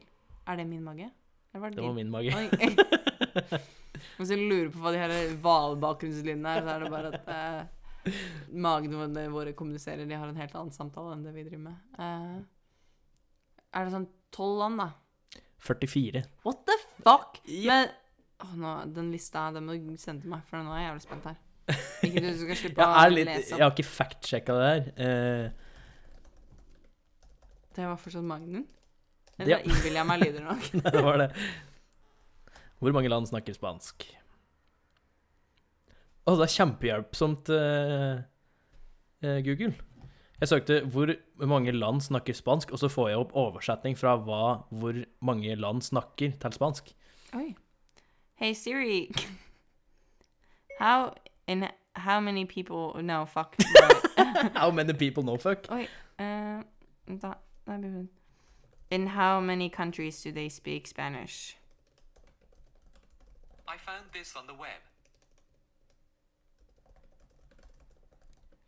Speaker 2: Er det min mage? Eller var det,
Speaker 1: Det var
Speaker 2: din?
Speaker 1: min mage.
Speaker 2: Oi. Hvis du lurer på hva de her hvalbakgrunnslinjene er, så er det bare at eh, magene våre kommuniserer. De har en helt annen samtale enn det vi driver med. Eh, er det sånn tolv land, da?
Speaker 1: 44.
Speaker 2: What the fuck? Men Åh, nå, den lista den må du sende til meg, for nå er jeg jævlig spent her. Ikke du som skal slippe
Speaker 1: Jeg, er
Speaker 2: å
Speaker 1: litt,
Speaker 2: lese
Speaker 1: jeg
Speaker 2: opp.
Speaker 1: har ikke fact-sjekka det her. Eh,
Speaker 2: Det var fortsatt Magnum.
Speaker 1: Ja.
Speaker 2: Eller innbiller jeg meg lyder nok?
Speaker 1: nei, det var det. Hvor mange land snakker spansk? Å, det er kjempehjelpsomt, eh, eh, Google. Jeg søkte 'hvor mange land snakker spansk', og så får jeg opp oversetning fra hva 'hvor mange land snakker' til spansk.
Speaker 2: Oi. Hey Siri. How in how many people No, fuck.
Speaker 1: How many people know fuck?
Speaker 2: Oi. eh, da, da blir det In how many countries do they speak Spanish?
Speaker 5: I found this on the web.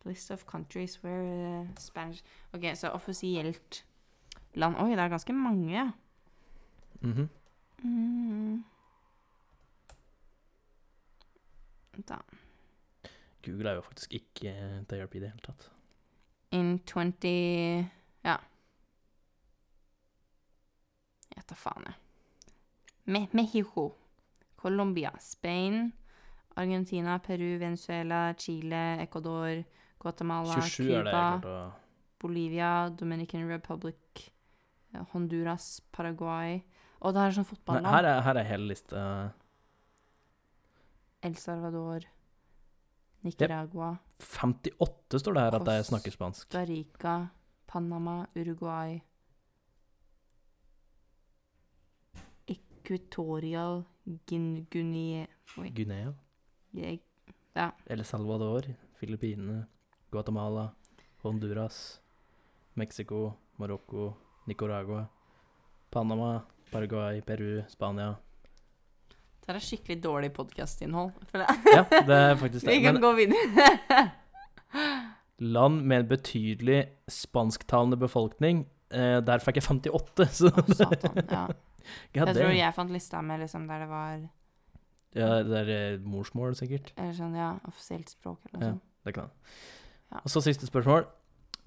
Speaker 2: List of countries where eh, Spanish Ok, så offisielt land Oi, det er ganske mange, ja.
Speaker 1: Mhm.
Speaker 2: Mm. Da.
Speaker 1: Google er jo faktisk ikke eh, til hjelp i det hele tatt.
Speaker 2: in 20 Ja. Jeg tar faen, jeg. Me Mexico, Colombia, Spain, Argentina, Peru, Venezuela, Chile, Ecuador, Guatemala,
Speaker 1: 27 er det jeg
Speaker 2: Cuba,
Speaker 1: klarte å
Speaker 2: Bolivia, Dominican Republic, eh, Honduras, Paraguay Og det her er sånn
Speaker 1: Nei,
Speaker 2: fotballand.
Speaker 1: her, er, her er Eh, hele lista.
Speaker 2: El Salvador, Nicaragua,
Speaker 1: 58 står det her at jeg
Speaker 2: Kost-
Speaker 1: snakker spansk.
Speaker 2: Costa Rica, Panama, Uruguay Equatorial Gin- Guinea Oi.
Speaker 1: Guinea,
Speaker 2: Jeg-
Speaker 1: El Salvador, Filippinene, Guatemala, Honduras, Mexico, Marokko, Nicaragua, Panama, Paraguay, Peru, Spania.
Speaker 2: Det her er skikkelig dårlig podkastinnhold.
Speaker 1: Ja, det er faktisk det.
Speaker 2: Vi kan
Speaker 1: Men
Speaker 2: gå videre.
Speaker 1: land med en betydelig spansktalende befolkning eh, Der fikk jeg 58, så
Speaker 2: Å, satan. Ja.
Speaker 1: ja,
Speaker 2: Jeg
Speaker 1: det,
Speaker 2: tror jeg fant lista med liksom der det var
Speaker 1: ja, det er eh, morsmål, sikkert.
Speaker 2: eller sånn, ja, offisielt språk eller noe
Speaker 1: Ja.
Speaker 2: sånt.
Speaker 1: Det kan jeg.
Speaker 2: Ja.
Speaker 1: Og så siste spørsmål.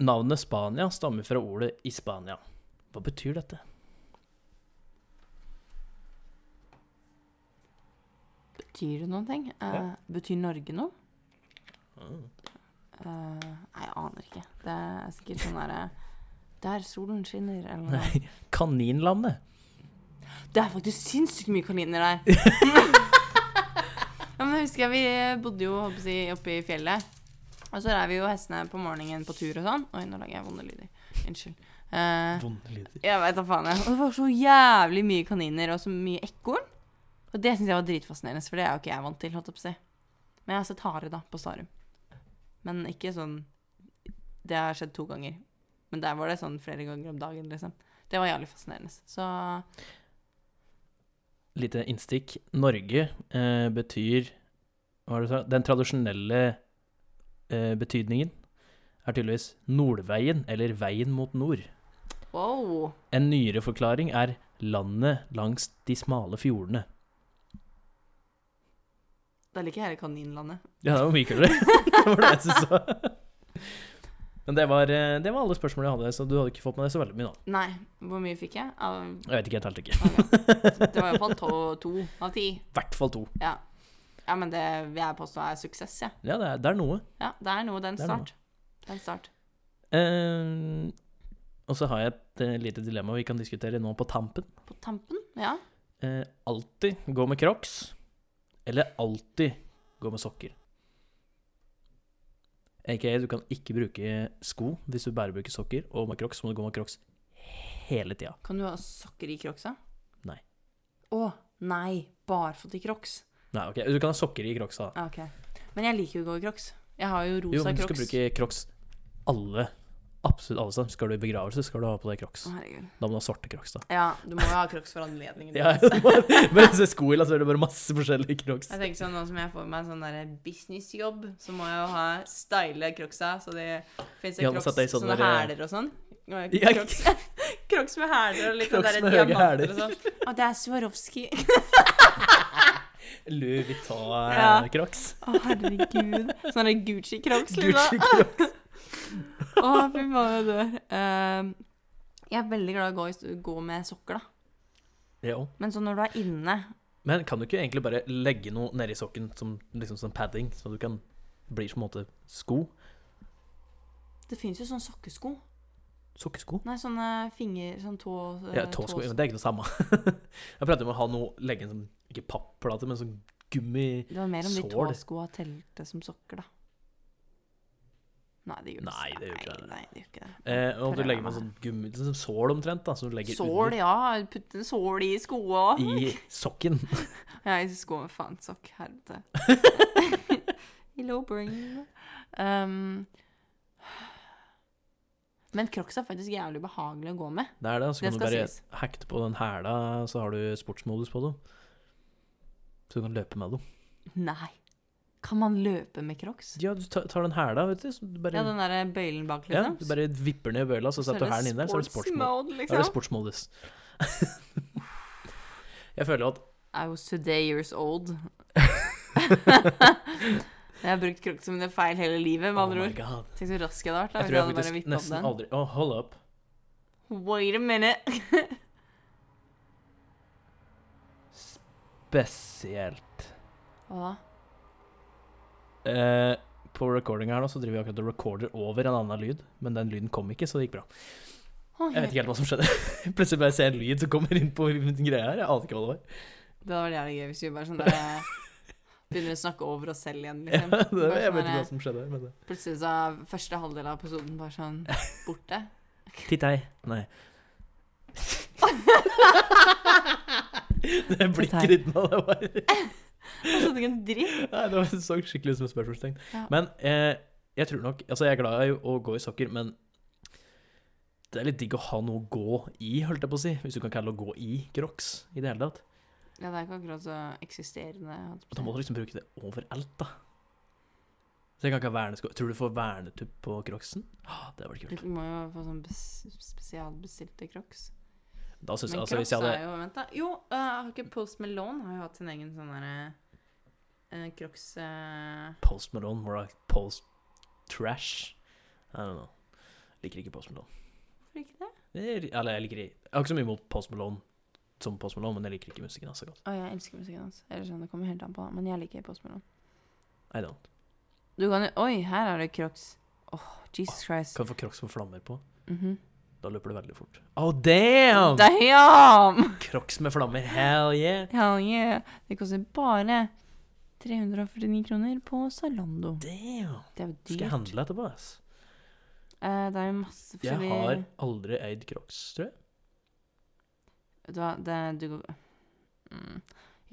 Speaker 1: Navnet Spania stammer fra ordet Ispania. Hva betyr dette?
Speaker 2: Betyr det noen ting? Eh,
Speaker 1: Ja.
Speaker 2: Betyr Norge noe?
Speaker 1: Mm.
Speaker 2: Eh, nei, jeg aner ikke. Det er sikkert sånn derre Der solen skinner, eller noe.
Speaker 1: Nei, Kaninlandet.
Speaker 2: Det er faktisk sinnssykt mye kaniner der. ja, men jeg husker jeg, Vi bodde jo håper jeg, å si, oppe i fjellet. Og så reiv vi jo hestene på morgenen på tur og sånn. Oi, nå lager jeg vonde lyder. Unnskyld. Eh,
Speaker 1: Vonde lyder.
Speaker 2: jeg vet da faen. jeg. Og det var så jævlig mye kaniner og så mye ekorn. Og det syns jeg var dritfascinerende, for det er jo ikke jeg vant til. holdt jeg på å si. Men jeg har sett hare da, på Starum. Men ikke sånn Det har skjedd to ganger. Men der var det sånn flere ganger om dagen, liksom. Det var jævlig fascinerende. Så
Speaker 1: Lite innstikk. Norge eh, betyr Hva var det du sa? Den tradisjonelle eh, betydningen er tydeligvis Nordveien, eller Veien mot nord.
Speaker 2: wow.
Speaker 1: En nyere forklaring er landet langs de smale fjordene.
Speaker 2: Da liker jeg hele Kaninlandet.
Speaker 1: Ja, det var mye kulere. det var det jeg syntes var. Men det var, eh, det var alle spørsmålene jeg hadde, så du hadde ikke fått med deg så veldig mye, da.
Speaker 2: Nei, hvor mye fikk jeg? Av,
Speaker 1: Jeg vet ikke, jeg telte ikke.
Speaker 2: ok. Det var i hvert fall to- to av ti.
Speaker 1: I hvert fall to.
Speaker 2: Ja. ja, men det vil jeg påstå er suksess, jeg.
Speaker 1: Ja, det er, det er noe.
Speaker 2: Ja. ja, det er noe. Det er en
Speaker 1: Det er noe.
Speaker 2: start. Det er en start.
Speaker 1: Eh, og så har jeg et eh, lite dilemma vi kan diskutere nå på tampen.
Speaker 2: På tampen, ja.
Speaker 1: Eh, alltid gå med crocs, eller alltid gå med sokker. Aka, du kan ikke bruke sko hvis du bare bruker sokker, og med crocs må du gå med crocs hele tida.
Speaker 2: Kan du ha sokker i crocsa?
Speaker 1: Nei.
Speaker 2: Å, nei. Barfot i crocs.
Speaker 1: Nei, ok, du kan ha sokker i crocs, da.
Speaker 2: Ja, Ok. Men jeg liker jo å gå i crocs. Jeg har jo
Speaker 1: Jo,
Speaker 2: rosa
Speaker 1: men du skal
Speaker 2: crocs.
Speaker 1: bruke crocs alle. Absolutt alle steder. Skal du i begravelse, skal du ha på deg crocs.
Speaker 2: Å, herregud.
Speaker 1: Da må du ha svarte crocs, da.
Speaker 2: Ja, du må jo ha crocs for anledningen.
Speaker 1: Ja, bare se skohylla, så er det bare masse forskjellige crocs.
Speaker 2: Jeg tenker sånn, Nå som jeg får meg en sånn der businessjobb, så må jeg jo ha style crocsa. Så det fins
Speaker 1: Ja,
Speaker 2: jo
Speaker 1: nå
Speaker 2: crocs
Speaker 1: satt jeg i
Speaker 2: sånne,
Speaker 1: sånn der-
Speaker 2: hæler og sånn. Og
Speaker 1: Ja,
Speaker 2: Crocs, crocs med hæler og litt sånn
Speaker 1: Crocs
Speaker 2: der
Speaker 1: med høye
Speaker 2: diamanter og
Speaker 1: hæler.
Speaker 2: sånn. Å, det er Swarovski.
Speaker 1: Louis Vuitton-crocs.
Speaker 2: Å, herregud. Sånne Gucci-crocs, liksom.
Speaker 1: Gucci-crocs.
Speaker 2: Å, fy faen, jeg dør. Ehm, jeg er veldig glad i å gå, i st- gå med sokker, da.
Speaker 1: Ja.
Speaker 2: Men så når du er inne
Speaker 1: Men kan du ikke egentlig bare legge noe nedi sokken som liksom sånn padding, så du kan bli på en måte sko?
Speaker 2: Det fins jo sånne sokkesko.
Speaker 1: Sokkesko?
Speaker 2: Nei, sånne finger... Sånn tå...
Speaker 1: Ja, tåsko. Ja, men Det er ikke det samme. Jeg prater om å ha noe, legge en sånn, ikke papplate, men sånn gummi...
Speaker 2: Det var mer om de
Speaker 1: Sår.
Speaker 2: tåskoa telte som sokker, da. Nei, det gjør ikke
Speaker 1: Nei, det gjør ikke det.
Speaker 2: Nei, det gjør ikke det.
Speaker 1: Eh, og du
Speaker 2: Prøver
Speaker 1: legger
Speaker 2: meg.
Speaker 1: med sånn gummi, sånn sål omtrent, da, som du legger
Speaker 2: Sål, ja. Putt en sål i skoa òg.
Speaker 1: under i sokken.
Speaker 2: Ja, i sko med faen sokk. Helvete. Hello, brain. Um, men crocs er faktisk jævlig behagelig å gå med.
Speaker 1: Det er det, og så
Speaker 2: Det
Speaker 1: kan du
Speaker 2: skal
Speaker 1: bare
Speaker 2: sies.
Speaker 1: hekte på den hæla, så har du sportsmodus på dem. Så du kan løpe med dem.
Speaker 2: Nei. Kan man løpe med crocs?
Speaker 1: Ja, du tar tar den hæla, vet du, så du bare
Speaker 2: Ja, den derre bøylen bak,
Speaker 1: Ja,
Speaker 2: liksom.
Speaker 1: du bare vipper ned bøyla, så setter du hælen inn der, så er det
Speaker 2: sports
Speaker 1: sportsmodus.
Speaker 2: mode,
Speaker 1: Da er det
Speaker 2: liksom.
Speaker 1: sportsmodus. Jeg føler at
Speaker 2: I was today years old. Jeg har brukt krukt som det feil hele livet, med
Speaker 1: Oh
Speaker 2: andre
Speaker 1: my
Speaker 2: ord.
Speaker 1: god.
Speaker 2: Tenk så rask jeg hadde vært da,
Speaker 1: Jeg tror
Speaker 2: hvis
Speaker 1: jeg
Speaker 2: jeg hadde bare
Speaker 1: faktisk
Speaker 2: vippet opp
Speaker 1: nesten
Speaker 2: den.
Speaker 1: aldri Å, hold up.
Speaker 2: Wait a minute.
Speaker 1: Spesielt.
Speaker 2: Hva da?
Speaker 1: Eh, på recording her nå så driver vi akkurat og recorder over en annen lyd, men den lyden kom ikke, så det gikk bra.
Speaker 2: Oi,
Speaker 1: Jeg vet ikke helt hva som skjedde. Plutselig bare ser jeg en lyd som kommer inn på greia her. Jeg aner ikke hva det var.
Speaker 2: Det hadde vært jævlig gøy hvis vi bare sånn der eh, begynner å snakke over oss selv igjen,
Speaker 1: Ja,
Speaker 2: liksom.
Speaker 1: det,
Speaker 2: Bare
Speaker 1: jeg vet
Speaker 2: sånn
Speaker 1: ikke
Speaker 2: her,
Speaker 1: hva som skjedde. Men det.
Speaker 2: Plutselig så er første halvdel av episoden bare sånn borte.
Speaker 1: Titt hei. Nei. Det blikket ditt nå, det var
Speaker 2: Jeg skjønte ikke en dritt.
Speaker 1: Nei, det var- så skikkelig ut som et spørsmålstegn.
Speaker 2: Ja.
Speaker 1: Men eh, jeg tror nok Altså, jeg er glad i å gå i sokker, men det er litt digg å ha noe å gå i, holdt jeg på å si. Hvis du kan kalle det å gå i crocs i det hele tatt.
Speaker 2: Ja, det er ikke akkurat så eksisterende. holdt
Speaker 1: Og da
Speaker 2: på
Speaker 1: må
Speaker 2: å
Speaker 1: du
Speaker 2: si.
Speaker 1: liksom bruke det overalt, da. Så jeg kan ikke ha vernesko Tror du du får vernetupp på crocsen? Ah, det hadde vært kult.
Speaker 2: Du må jo få sånn bes spesialbestilte crocs.
Speaker 1: Da synes,
Speaker 2: Men
Speaker 1: jeg- altså, hvis
Speaker 2: crocs
Speaker 1: jeg hadde
Speaker 2: er jo Vent, da. Jo, eh, har ikke Post Malone har jo hatt sin egen sånn derre uh, crocs eh,
Speaker 1: Post Malone, more like post trash. I don't know. Liker ikke Post Malone.
Speaker 2: Hvorfor ikke det?
Speaker 1: Jeg- Eller jeg liker Jeg har ikke så mye imot Post Malone som Post Malone, men jeg liker ikke musikken hans så godt.
Speaker 2: Å, jeg elsker musikken hans. Eller sånn, det kommer helt an på, da. Men jeg liker Post Malone.
Speaker 1: I don't.
Speaker 2: Du kan jo Oi, her er det crocs. Åh, Jesus Christ.
Speaker 1: Kan få crocs med flammer på.
Speaker 2: Mhm.
Speaker 1: Da løper det veldig fort. Oh, damn!
Speaker 2: Damn!
Speaker 1: Crocs med flammer, hell yeah!
Speaker 2: Hell yeah. Det koster bare 349 kroner på Zalando.
Speaker 1: Damn!
Speaker 2: Det er jo
Speaker 1: Skal jeg
Speaker 2: dyrt.
Speaker 1: handle etterpå, ass?
Speaker 2: Eh, det er jo masse
Speaker 1: Jeg
Speaker 2: forskjellige
Speaker 1: har aldri eid crocs, tror jeg.
Speaker 2: Vet du hva, det du går mm.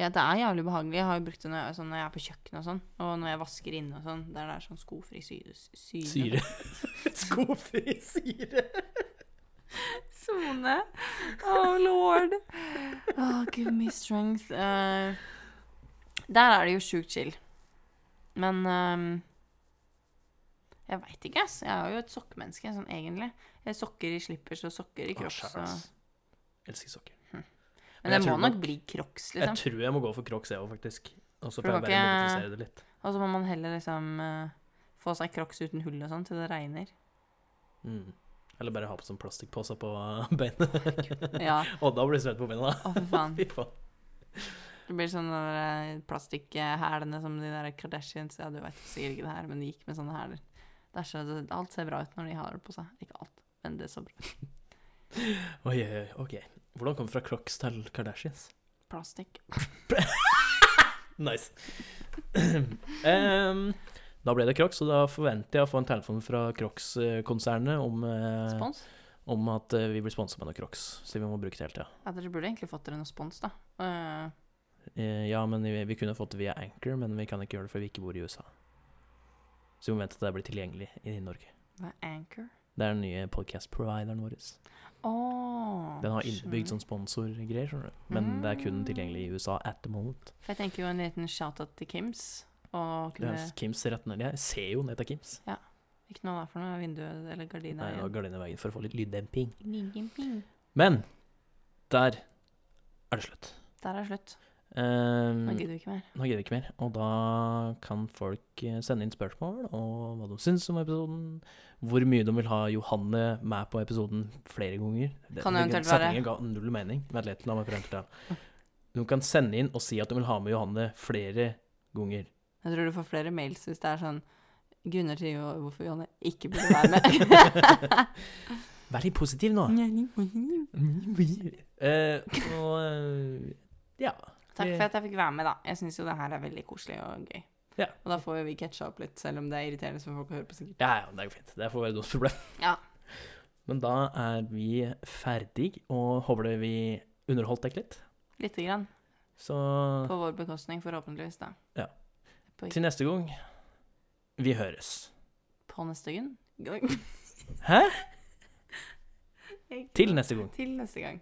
Speaker 2: Ja, det er jævlig behagelig. Jeg har jo brukt det når jeg, sånn, når jeg er på kjøkkenet og sånn, og når jeg vasker inne og sånn, der det er sånn skofri syre. syre.
Speaker 1: Syre. Skofri syre.
Speaker 2: Sone. Oh lord. Oh, give me strength. Eh, der er det jo sjukt chill. Men ehm, jeg veit ikke, ass. Jeg er jo et sokkemenneske, sånn egentlig. Jeg sokker i slippers og sokker i
Speaker 1: Å,
Speaker 2: crocs.
Speaker 1: Ah, shucks.
Speaker 2: og-
Speaker 1: Elsker sokker. Men
Speaker 2: Men det
Speaker 1: jeg
Speaker 2: må
Speaker 1: tror
Speaker 2: nok
Speaker 1: nok-
Speaker 2: bli crocs,
Speaker 1: Jeg
Speaker 2: liksom.
Speaker 1: tror jeg må gå for crocs, jeg òg, faktisk. Og så
Speaker 2: For du
Speaker 1: prøver jeg bare å
Speaker 2: kan ikke-
Speaker 1: modifisere det litt.
Speaker 2: Og så må man heller liksom eh, få seg crocs uten hull og sånn til det regner.
Speaker 1: Mm. Eller bare ha på sånn plastikkpose på beinet.
Speaker 2: Ja,
Speaker 1: Og da blir det svett på beina.
Speaker 2: å fy faen.
Speaker 1: Fy faen.
Speaker 2: Det blir sånne der, eh, plastikkhælene som de der Kardashians Ja, du vet sikkert ikke det her, men de gikk med sånne hæler. Det er så, det- alt ser bra ut når de har det på seg. Ikke alt, men det er så bra.
Speaker 1: Oi, oi, oi, ok. Hvordan kom vi fra Crocs til Kardashians?
Speaker 2: Plastikk.
Speaker 1: Nice. Em, da ble det Crocs, og da forventer jeg å få en telefon fra Crocs-konsernet om, eh,
Speaker 2: Spons?
Speaker 1: om at eh, vi blir sponset med noe Crocs, så vi må bruke det hele tida.
Speaker 2: Ja, dere burde egentlig fått dere noe spons, da. Eh,
Speaker 1: Eh, ja, men vi, vi kunne fått det via Anchor, men vi kan ikke gjøre det fordi vi ikke bor i USA. Så vi må vente til det blir tilgjengelig i Norge.
Speaker 2: hva er Anchor?
Speaker 1: Det er den nye podcast-provideren vår.
Speaker 2: Åh,
Speaker 1: Den har innebygd
Speaker 2: skjønner.
Speaker 1: sånn sponsorgreier, skjønner du. Men det er kun
Speaker 2: Mm.
Speaker 1: tilgjengelig i USA at the moment.
Speaker 2: For jeg tenker jo en liten shout-out til Kims. Og
Speaker 1: Det
Speaker 2: kunne,
Speaker 1: er Kims rett ned. Jeg ser jo ned til Kims.
Speaker 2: Ikke noe der for noe vinduet eller
Speaker 1: Nei,
Speaker 2: gardina
Speaker 1: nå
Speaker 2: igjen.
Speaker 1: går det inn i veien for å få litt lyddemping.
Speaker 2: Ingen ping.
Speaker 1: Men der er det slutt.
Speaker 2: Der er slutt.
Speaker 1: Ehm,
Speaker 2: Nå gidder vi ikke mer.
Speaker 1: nå gidder vi ikke mer. Og da kan folk eh, sende inn spørsmål og hva de syns om episoden. Hvor mye de vil ha Johanne med på episoden flere ganger. Det-
Speaker 2: Kan
Speaker 1: den
Speaker 2: eventuelt være-
Speaker 1: Setningen ga null mening. Vent litt, la meg prøve en til. De kan sende inn og si at de vil ha med Johanne flere ganger.
Speaker 2: Jeg tror du får flere mails hvis det er sånn grunner til jo- hvorfor Johanne ikke burde være med.
Speaker 1: Vær litt positiv nå. Eh, og eh, ja.
Speaker 2: Takk for at jeg fikk være med, da. Jeg syns jo det her er veldig koselig og gøy.
Speaker 1: Ja.
Speaker 2: Og da får jo vi catcha opp litt, selv om det er irriterende for folk å høre på, sikkert.
Speaker 1: Ja, ja, det går fint. Det får være deres problem.
Speaker 2: Ja.
Speaker 1: Men da er vi ferdig, og håper det vi underholdt deg litt.
Speaker 2: Lite grann.
Speaker 1: Så
Speaker 2: På vår bekostning, forhåpentligvis, da.
Speaker 1: Ja.
Speaker 2: På,
Speaker 1: til neste gang vi høres.
Speaker 2: på neste gang.
Speaker 1: Hæ? Til neste gang
Speaker 2: Til neste gang.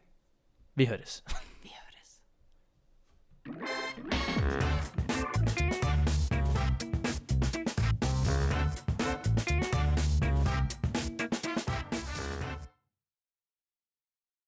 Speaker 1: vi høres.